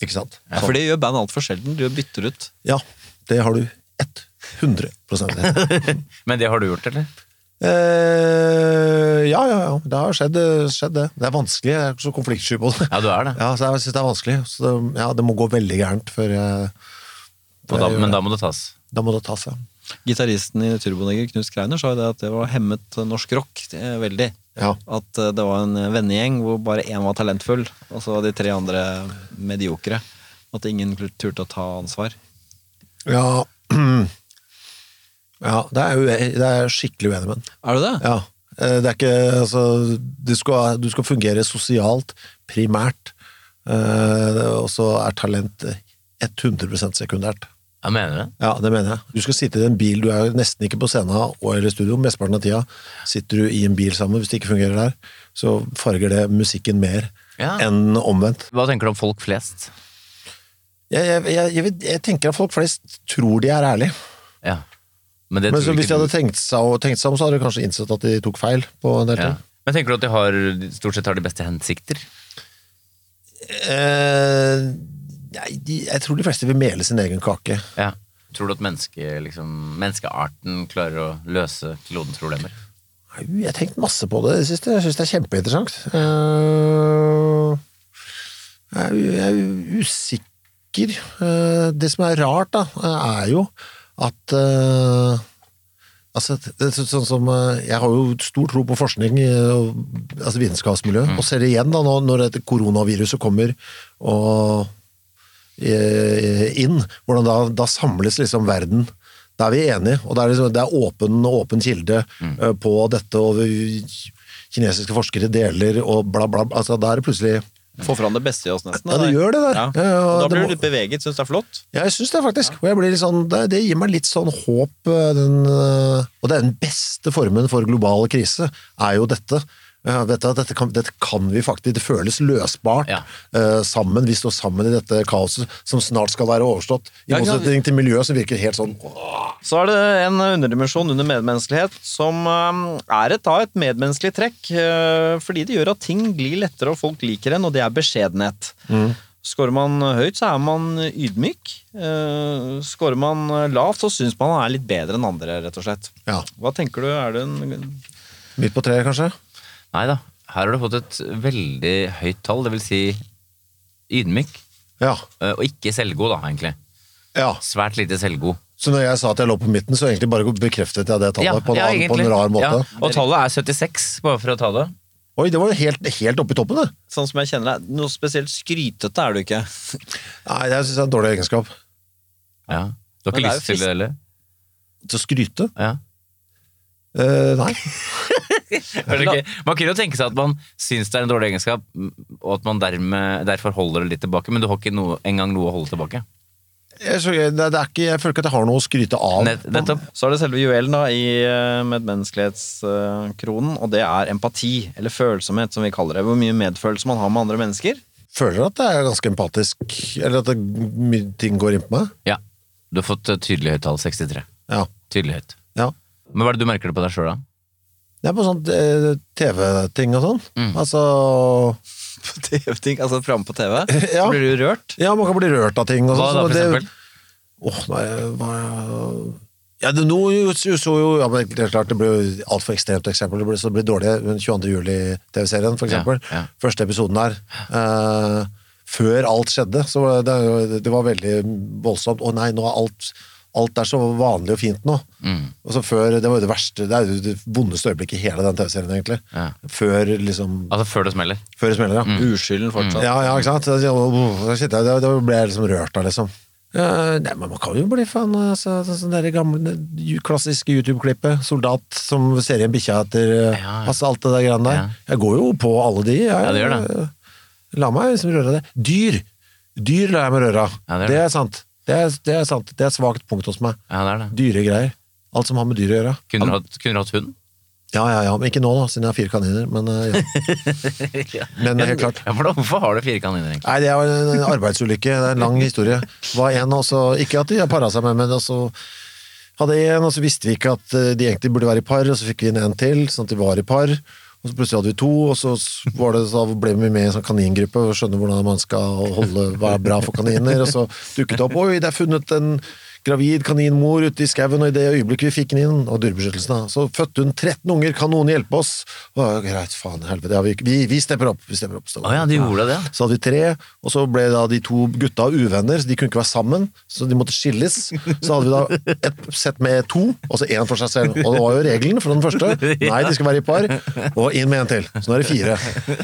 Ikke sant?
Ja, for det gjør band altfor sjelden. Du bytter ut.
Ja, det har du 100 rett.
Men det har du gjort, eller?
[laughs] eh, ja, ja, ja. Det har skjedd, skjedd det. Det er vanskelig. Jeg er så konfliktsky på det. [laughs]
Ja, du er det.
Ja, så jeg synes det er vanskelig. Så det, ja, det må gå veldig gærent før jeg
Og da,
jeg gjør
men
det.
da må det tas.
Da må det tas, ja.
Gitaristen i Turboneger, Knut Skreiner, sa jo det at det var hemmet norsk rock eh, veldig.
ja.
At eh, det var en vennegjeng hvor bare én var talentfull, og så var de tre andre mediokre. At ingen turte å ta ansvar.
Ja. [clears throat] ja det, er ue, det er jeg skikkelig uenig med den.
Er du det?
Ja. Eh, Det er ikke, altså, du, skal, du skal fungere sosialt, primært, eh, og så er talent 100 sekundært.
Ja, mener du det?
Ja, det mener jeg. Du skal sitte i en bil, du er jo nesten ikke på scenen og eller studio, mesteparten av tida sitter du i en bil sammen, hvis det ikke fungerer der, så farger det musikken mer
Ja.
enn omvendt.
Hva tenker du om folk flest?
Jeg, jeg, jeg, jeg, vet- jeg tenker at folk flest tror de er ærlige,
Ja. Men det
men så
tror
hvis de
ikke
hadde
du.
tenkt seg, og tenkt seg om, så hadde de kanskje innsett at de tok feil på en del
Ja.
ting.
Men tenker du at de har, de stort sett har de beste hensikter?
Eh, nei, de, jeg tror de fleste vil mele sin egen kake.
Ja. Tror du at menneske, liksom, menneskearten klarer å løse klodens problemer?
Nei, Jeg har tenkt masse på det i det siste. Jeg syns det er kjempeinteressant. Eh, Jeg er, u- jeg er usikker. Eh, Det som er rart, da, er jo at eh, Altså, det er sånn som, eh, jeg har jo stor tro på forskning eh, og altså vitenskapsmiljøet, og ser det igjen da nå når dette koronaviruset kommer og eh, inn, hvordan da, da samles liksom verden. Da er vi enige, og det er, liksom, det er åpen, åpen kilde
Mm.
eh, på dette, og vi, kinesiske forskere deler, og bla bla, bla. altså da er det plutselig
Få fram det beste i oss, nesten.
Ja, det
da.
gjør det der.
Ja.
Ja, ja,
Og da
det
blir
må-
du litt beveget, syns det er flott.
Ja, jeg syns det, faktisk. Og jeg blir litt sånn, det, det gir meg litt sånn håp. eh, Den, eh, og det er den beste formen for global krise, er jo dette. Eh, vet du at dette, kan, dette kan vi faktisk. Det føles løsbart.
Ja.
Eh, sammen, Vi står sammen i dette kaoset som snart skal være overstått. I
Ja, ikke sant?
motsetning til miljøet som virker helt sånn
Så er det en underdimensjon under medmenneskelighet som eh, er et, da, et medmenneskelig trekk, eh, fordi det gjør at ting glir lettere og folk liker en, og det er beskjedenhet. Skårer man høyt, så er man ydmyk. Eh, Skårer man lavt, så syns man man er litt bedre enn andre, rett og slett.
Ja.
Hva tenker du, er det en
Midt på treet, kanskje?
Nei da. Her har du fått et veldig høyt tall, det vil si ydmyk.
Ja.
eh, Og ikke selvgod, da, egentlig.
ja.
Svært lite selvgod.
Så når jeg sa at jeg lå på midten, så egentlig bare bekreftet jeg det tallet på, en, annen- på en
egentlig.
rar måte.
Ja, Og tallet er 76, bare for å ta det.
Oi, det var jo helt, helt oppe i toppen, det.
Sånn som jeg kjenner deg, noe spesielt skrytete er du ikke.
Nei, jeg syns det er en dårlig egenskap.
Ja. Du har
Men det
ikke
er
lyst
jo
til det heller?
Til å skryte?
Ja.
[laughs]
Eh, nei.
Er det ikke- Man kunne jo tenke seg at man syns det er en dårlig egenskap, og at man dermed, derfor holder det litt tilbake, men du har ikke noe, engang noe å holde tilbake.
jeg, så, det, det er ikke, jeg føler ikke at jeg har noe å skryte av.
Nett, nettopp.
Så er det selve juvelen da, i eh, medmenneskelighetskronen, og det er empati, eller følsomhet, som vi kaller det. Hvor mye medfølelse man har med andre mennesker.
Føler at jeg er ganske empatisk, eller at det, mye ting går inn på meg.
Ja. Du har fått et tydelig høyt tall, 63.
Ja.
Tydelig høyt.
ja.
Men hva er det du merker det på deg sjøl, da?
Det er på sånn eh, TV-ting og sånn. Altså
På TV-ting, altså framme på TV.
[laughs] Ja.
Så blir du rørt.
Altså, Ja, man kan bli rørt av ting og
Hva
sånn.
da,
så
for
det-
eksempel?
Åh, nei, hva Ja, det, nå jo- jo- så jo ja, men helt klart, Det ble jo altfor ekstremt eksempel. Det ble, så det ble dårlig den 22. juli-TV-serien, for eksempel.
Ja, ja.
Første episoden der. eh, før alt skjedde, så var det, det, det var veldig voldsomt. Å nei, nå er alt, alt er så vanlig og fint nå.
Mm,
Og så før, Det var jo det verste, det er jo det vondeste øyeblikket i hele den TV-serien, egentlig.
Ja. Mm.
Før liksom,
Altså før det smeller.
før det smeller, ja.
Uskylden fortsatt.
Mm. Ja, ja, ikke sant? Da sitter jeg, da- da ble jeg liksom rørt da, liksom. Eh, nei, men man kan jo bli fan av altså, sånn sånn der gamle, ju- klassiske YouTube-klippet. Soldat som ser igjen bikkja etter eh,
Ja.
altså, alt det der greiene der.
Ja.
Jeg går jo på alle de. Jeg,
det gjør det.
eh, La meg liksom røre av det. Dyr! Dyr lar jeg meg røre av.
Ja, det gjør
det, er sant. Det er, det er sant. Det er et svagt punkt hos meg.
Ja, det er det.
Dyregreier. Alt som har med dyr å gjøre.
Kunne du hatt, kunne du hatt hund?
Ja, ja, ja. Men ikke nå, da, siden jeg har fire kaniner. Men, eh, ja.
[laughs]
men eh, helt klart.
Ja, for da, hvorfor har du fire kaniner, egentlig?
Nei, det var en en arbeidsulykke. Det er en lang historie. Var en også, Ikke at de para seg med, men også hadde en, og så visste vi ikke at eh, de egentlig burde være i par, og så fikk vi inn en til, sånn at de var i par. Og så plutselig hadde vi to, og så s- var det, så ble vi med i en sånn kaningruppe og skjønner hvordan man skal holde hva er bra for kaniner. Og så dukket det opp Oi, det er funnet en gravid kaninmor ute i skauen, og i det øyeblikket vi fikk den inn, og dyrebeskyttelsen, da, så fødte hun 13 unger, kan noen hjelpe oss? Å, greit, faen i helvete, ja, vi, vi, vi stepper opp. Vi stepper opp. stå.
Å ja, du gjorde det, ja.
Så hadde vi tre, og så ble da de to gutta uvenner, så de kunne ikke være sammen, så de måtte skilles. Så hadde vi da et sett med to, og så én for seg selv. Og det var jo regelen for den første. Nei, de skal være i par, og inn med en til. Så nå er det fire.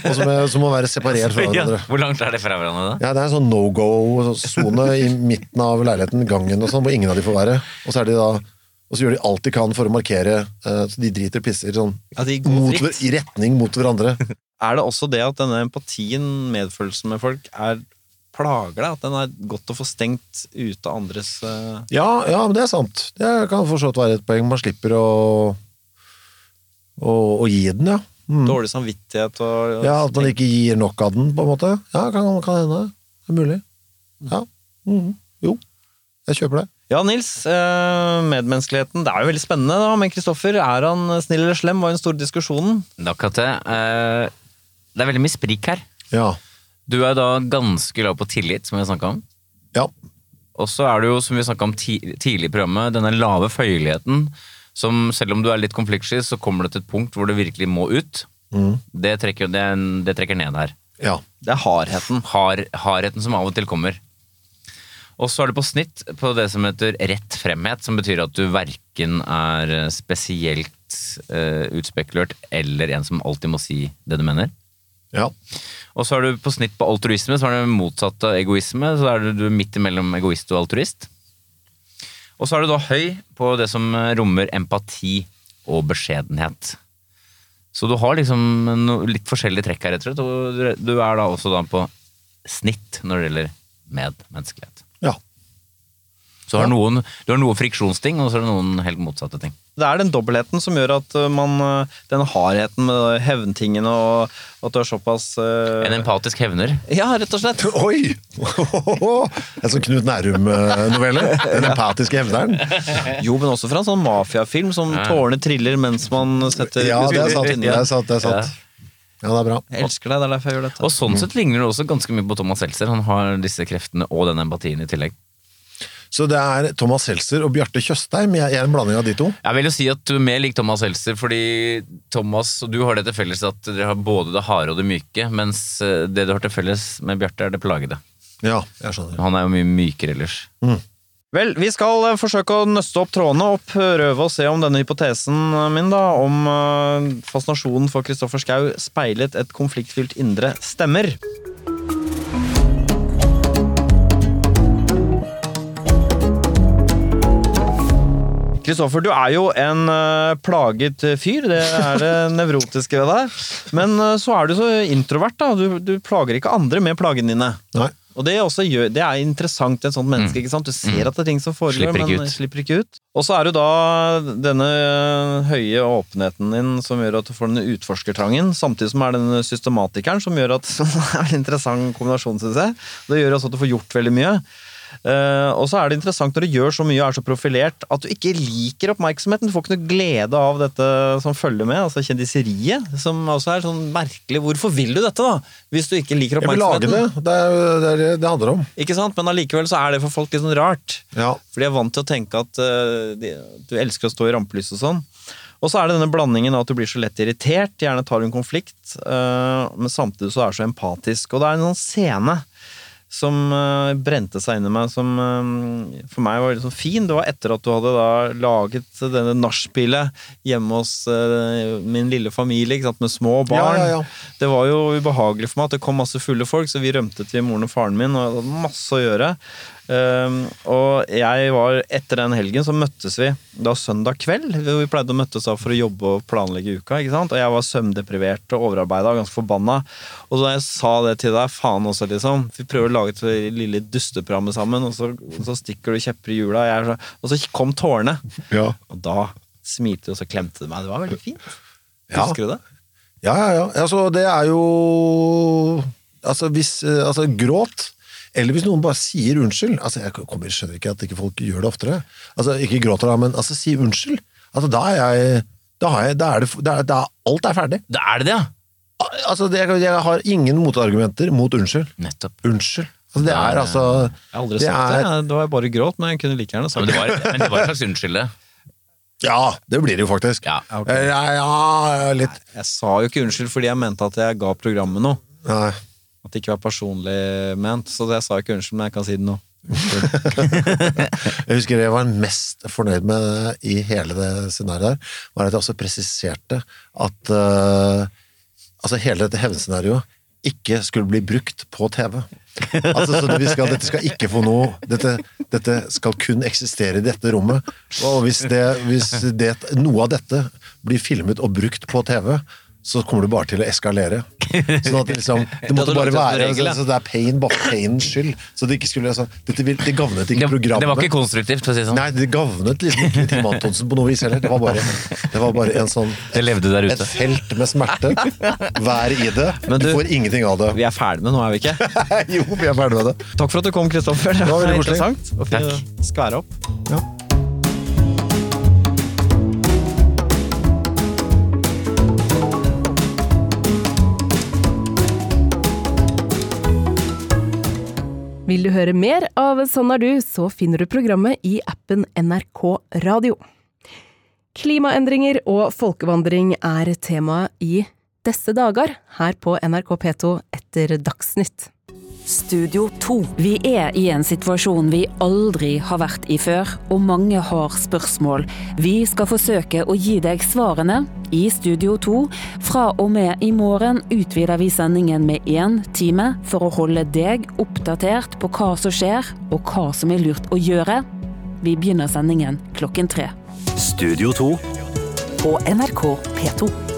Og så må, så må være separert fra
[laughs] ja.
hverandre.
Hvor langt er det fra hverandre, da?
Ja, Det er en sånn no go-sone i midten av leiligheten, gangen og sånn, hvor ingen av de får være. Og så er de da og så gjør de alt de kan for å markere, eh, så de driter og pisser sånn
Ja, de går
mot,
fritt.
hver- i retning mot hverandre.
Er det også det at denne empatien, medfølelsen med folk, er plager deg? At den er godt å få stengt ute av andres eh,
Ja, ja, men det er sant. Det kan for så vidt være et poeng. Man slipper å, å, å gi den, ja. Mm.
dårlig samvittighet og
Ja, At man ikke gir nok av den, på en måte. Ja, kan, kan hende. Det er mulig. Ja. Mhm. Jo, jeg kjøper det.
Ja, Nils. eh, Medmenneskeligheten. Det er jo veldig spennende da, med Kristoffer. Er han snill eller slem, var jo den store diskusjonen.
Da, Katte, eh, det er veldig mye sprik her.
Ja.
Du er da ganske lav på tillit, som vi har snakka om.
ja.
Og så er det jo, som vi snakka om ti tidlig i programmet, denne lave føyeligheten. Som selv om du er litt konfliktsky, så kommer det til et punkt hvor det virkelig må ut. Det, trekker, det, er en- det trekker ned her.
Ja.
Det er hardheten.
Har, hardheten som av og til kommer. Og så er det på snitt på det som heter rett fremhet, som betyr at du verken er eh, spesielt eh, utspekulert eller en som alltid må si det du mener.
ja.
Og så er du på snitt på altruisme, så er det motsatt av egoisme. Så er du- du er midt imellom egoist og altruist. Og så er du da høy på det som eh, rommer empati og beskjedenhet. Så du har liksom no, litt forskjellige trekk her, rett og slett. Og du- du er da også da på snitt når det gjelder medmenneskelighet.
ja.
Så har noen, du har noen friksjonsting, og så er det noen helt motsatte ting.
Det er den dobbeltheten som gjør at eh, man eh, Den hardheten med hevntingene og at du er såpass eh,
En empatisk hevner.
Ja, rett og
[laughs]
slett.
Oi! En sånn Knut Nærum-novelle. Den empatiske hevneren.
Jo, men også fra en sånn mafiafilm som tårene triller mens man setter
Ja, det er sant.
inni
Det
det.
er sant. Det er, sant. Ja, det er bra.
Jeg elsker deg, det er derfor jeg gjør dette.
Og sånn sett ligner du også ganske mye på Thomas Seltzer. Han har disse kreftene og den empatien i tillegg.
Så det er Thomas Seltzer og Bjarte Tjøstheim. Jeg er en blanding av de to.
Jeg vil jo si at du er mer lik Thomas Seltzer, fordi Thomas og du har det til felles at dere har både det harde og det myke, mens eh, det du har til felles med Bjarte, er det plagede.
Ja, jeg skjønner.
Han er jo mye mykere ellers.
Vel, vi skal eh, forsøke å nøste opp trådene opp, prøve å se om denne hypotesen eh, min, da, om eh, fascinasjonen for Kristoffer Schau speilet et konfliktfylt indre, stemmer. Kristoffer, du er jo en eh, plaget fyr, det er det [laughs] nevrotiske ved deg. Men eh, så er du så introvert, da. Du, du plager ikke andre med plagene dine.
Nei.
Og det, er også gjør, det er interessant til et sånt menneske. ikke sant? Du ser at det er ting som foregår,
Mm. Slipper ikke
men
ut.
slipper ikke ut. Og så er det jo da denne ø, høye åpenheten din som gjør at du får denne utforskertrangen, samtidig som er denne [laughs] systematikeren som gjør at som er en interessant kombinasjon, syns jeg. Det gjør også at du får gjort veldig mye. Eh, og så er det interessant når du gjør så mye og er så profilert at du ikke liker oppmerksomheten. Du får ikke noe glede av dette som følger med, altså kjendiseriet. Som også er sånn merkelig. Hvorfor vil du dette, da? Hvis du ikke liker
Jeg vil lage
oppmerksomheten.
det. Det er jo det er det det handler om.
Ikke sant? Men allikevel så er det for folk litt sånn rart.
Ja.
For de er vant til å tenke at eh, de, du elsker å stå i rampelyset og sånn. Og så er det denne blandingen av at du blir så lett irritert, gjerne tar du en konflikt, eh, men samtidig så er du så empatisk. Og det er en sånn scene som eh, brente seg inn i meg, som eh, for meg var litt sånn fin. Det var etter at du hadde da laget denne nachspielet hjemme hos eh, min lille familie, ikke sant, med små barn.
Ja, ja, ja.
Det var jo ubehagelig for meg at det kom masse fulle folk, så vi rømte til moren og faren min, og jeg hadde masse å gjøre. Ehm, og jeg var, etter den helgen så møttes vi da søndag kveld. Vi pleide å møttes da for å jobbe og planlegge uka. ikke sant? Og jeg var søvndeprivert og overarbeida og ganske forbanna. Og da jeg sa det til deg, faen også, liksom. Vi prøver å lage et lille dusteprogram sammen, og så, så stikker du kjepper i hjula. og jeg er så- Og så kom tårene.
Ja.
Og da smilte du, og så klemte du meg. Det var veldig fint.
Ja.
Husker du det?
Ja, ja, ja. Altså, det er jo Altså, hvis eh, Altså, gråt. Eller hvis noen bare sier unnskyld. Altså, Jeg kommer, skjønner ikke at ikke folk gjør det oftere. Altså, Ikke gråter, da, men altså, si unnskyld. Altså, Da er jeg Da, har jeg, da er det da er, da er, Alt er ferdig.
Da er det det, ja!
Al- Altså, det, Jeg har ingen motargumenter mot unnskyld.
Nettopp.
Unnskyld. Altså, Det er altså
Jeg har aldri
Det
sagt
er-
det. Jeg- Det var bare gråt, men jeg kunne like gjerne
Men
sagt
det
det.
var, men det var en slags unnskyld, det.
Ja, det blir det jo faktisk.
Ja,
ok.
Eh, ja, ja litt
Jeg sa jo ikke unnskyld fordi jeg mente at jeg ga programmet noe.
Nei.
At det ikke var personlig ment. Så jeg sa ikke unnskyld, men jeg kan si det nå.
Jeg husker det jeg var mest fornøyd med i hele det scenarioet her, var at jeg også presiserte at eh, altså hele dette hevnscenarioet ikke skulle bli brukt på TV. Altså, så det vi skal, dette skal ikke få noe dette, dette skal kun eksistere i dette rommet. Og hvis, det, hvis det, noe av dette blir filmet og brukt på TV, så kommer det bare til å eskalere. Sånn at det liksom Det måtte
hadde
bare
laget en
være
regel, ja.
så Det er pain, bare painens skyld. Så det ikke skulle altså, dette, vil- Det gagnet ikke
Det,
programmet.
det var ikke konstruktivt, for å si det sånn.
Nei, det gavnet liksom ikke Tim Antonsen på noe vis heller. Det var bare, det var bare en sånn
Det levde der
et
ute.
felt med smerte. Vær i det.
Men
Du
du-
får ingenting av det.
Vi er ferdig med nå, er vi ikke?
[laughs] Jo, vi er ferdig med det.
Takk for at du kom, Kristoffer. Det
var veldig koselig.
interessant. Og fint å
Takk.
skvære opp.
Ja.
Vil du høre mer av Sånn er du, så finner du programmet i appen NRK Radio. Klimaendringer og folkevandring er temaet i disse dager her på NRK P2 etter Dagsnytt.
Studio 2. Vi er i en situasjon vi aldri har vært i før, og mange har spørsmål. Vi skal forsøke å gi deg svarene i Studio 2. Fra og med i morgen utvider vi sendingen med én time for å holde deg oppdatert på hva som skjer, og hva som er lurt å gjøre. Vi begynner sendingen klokken tre
Studio 2.
på NRK P2.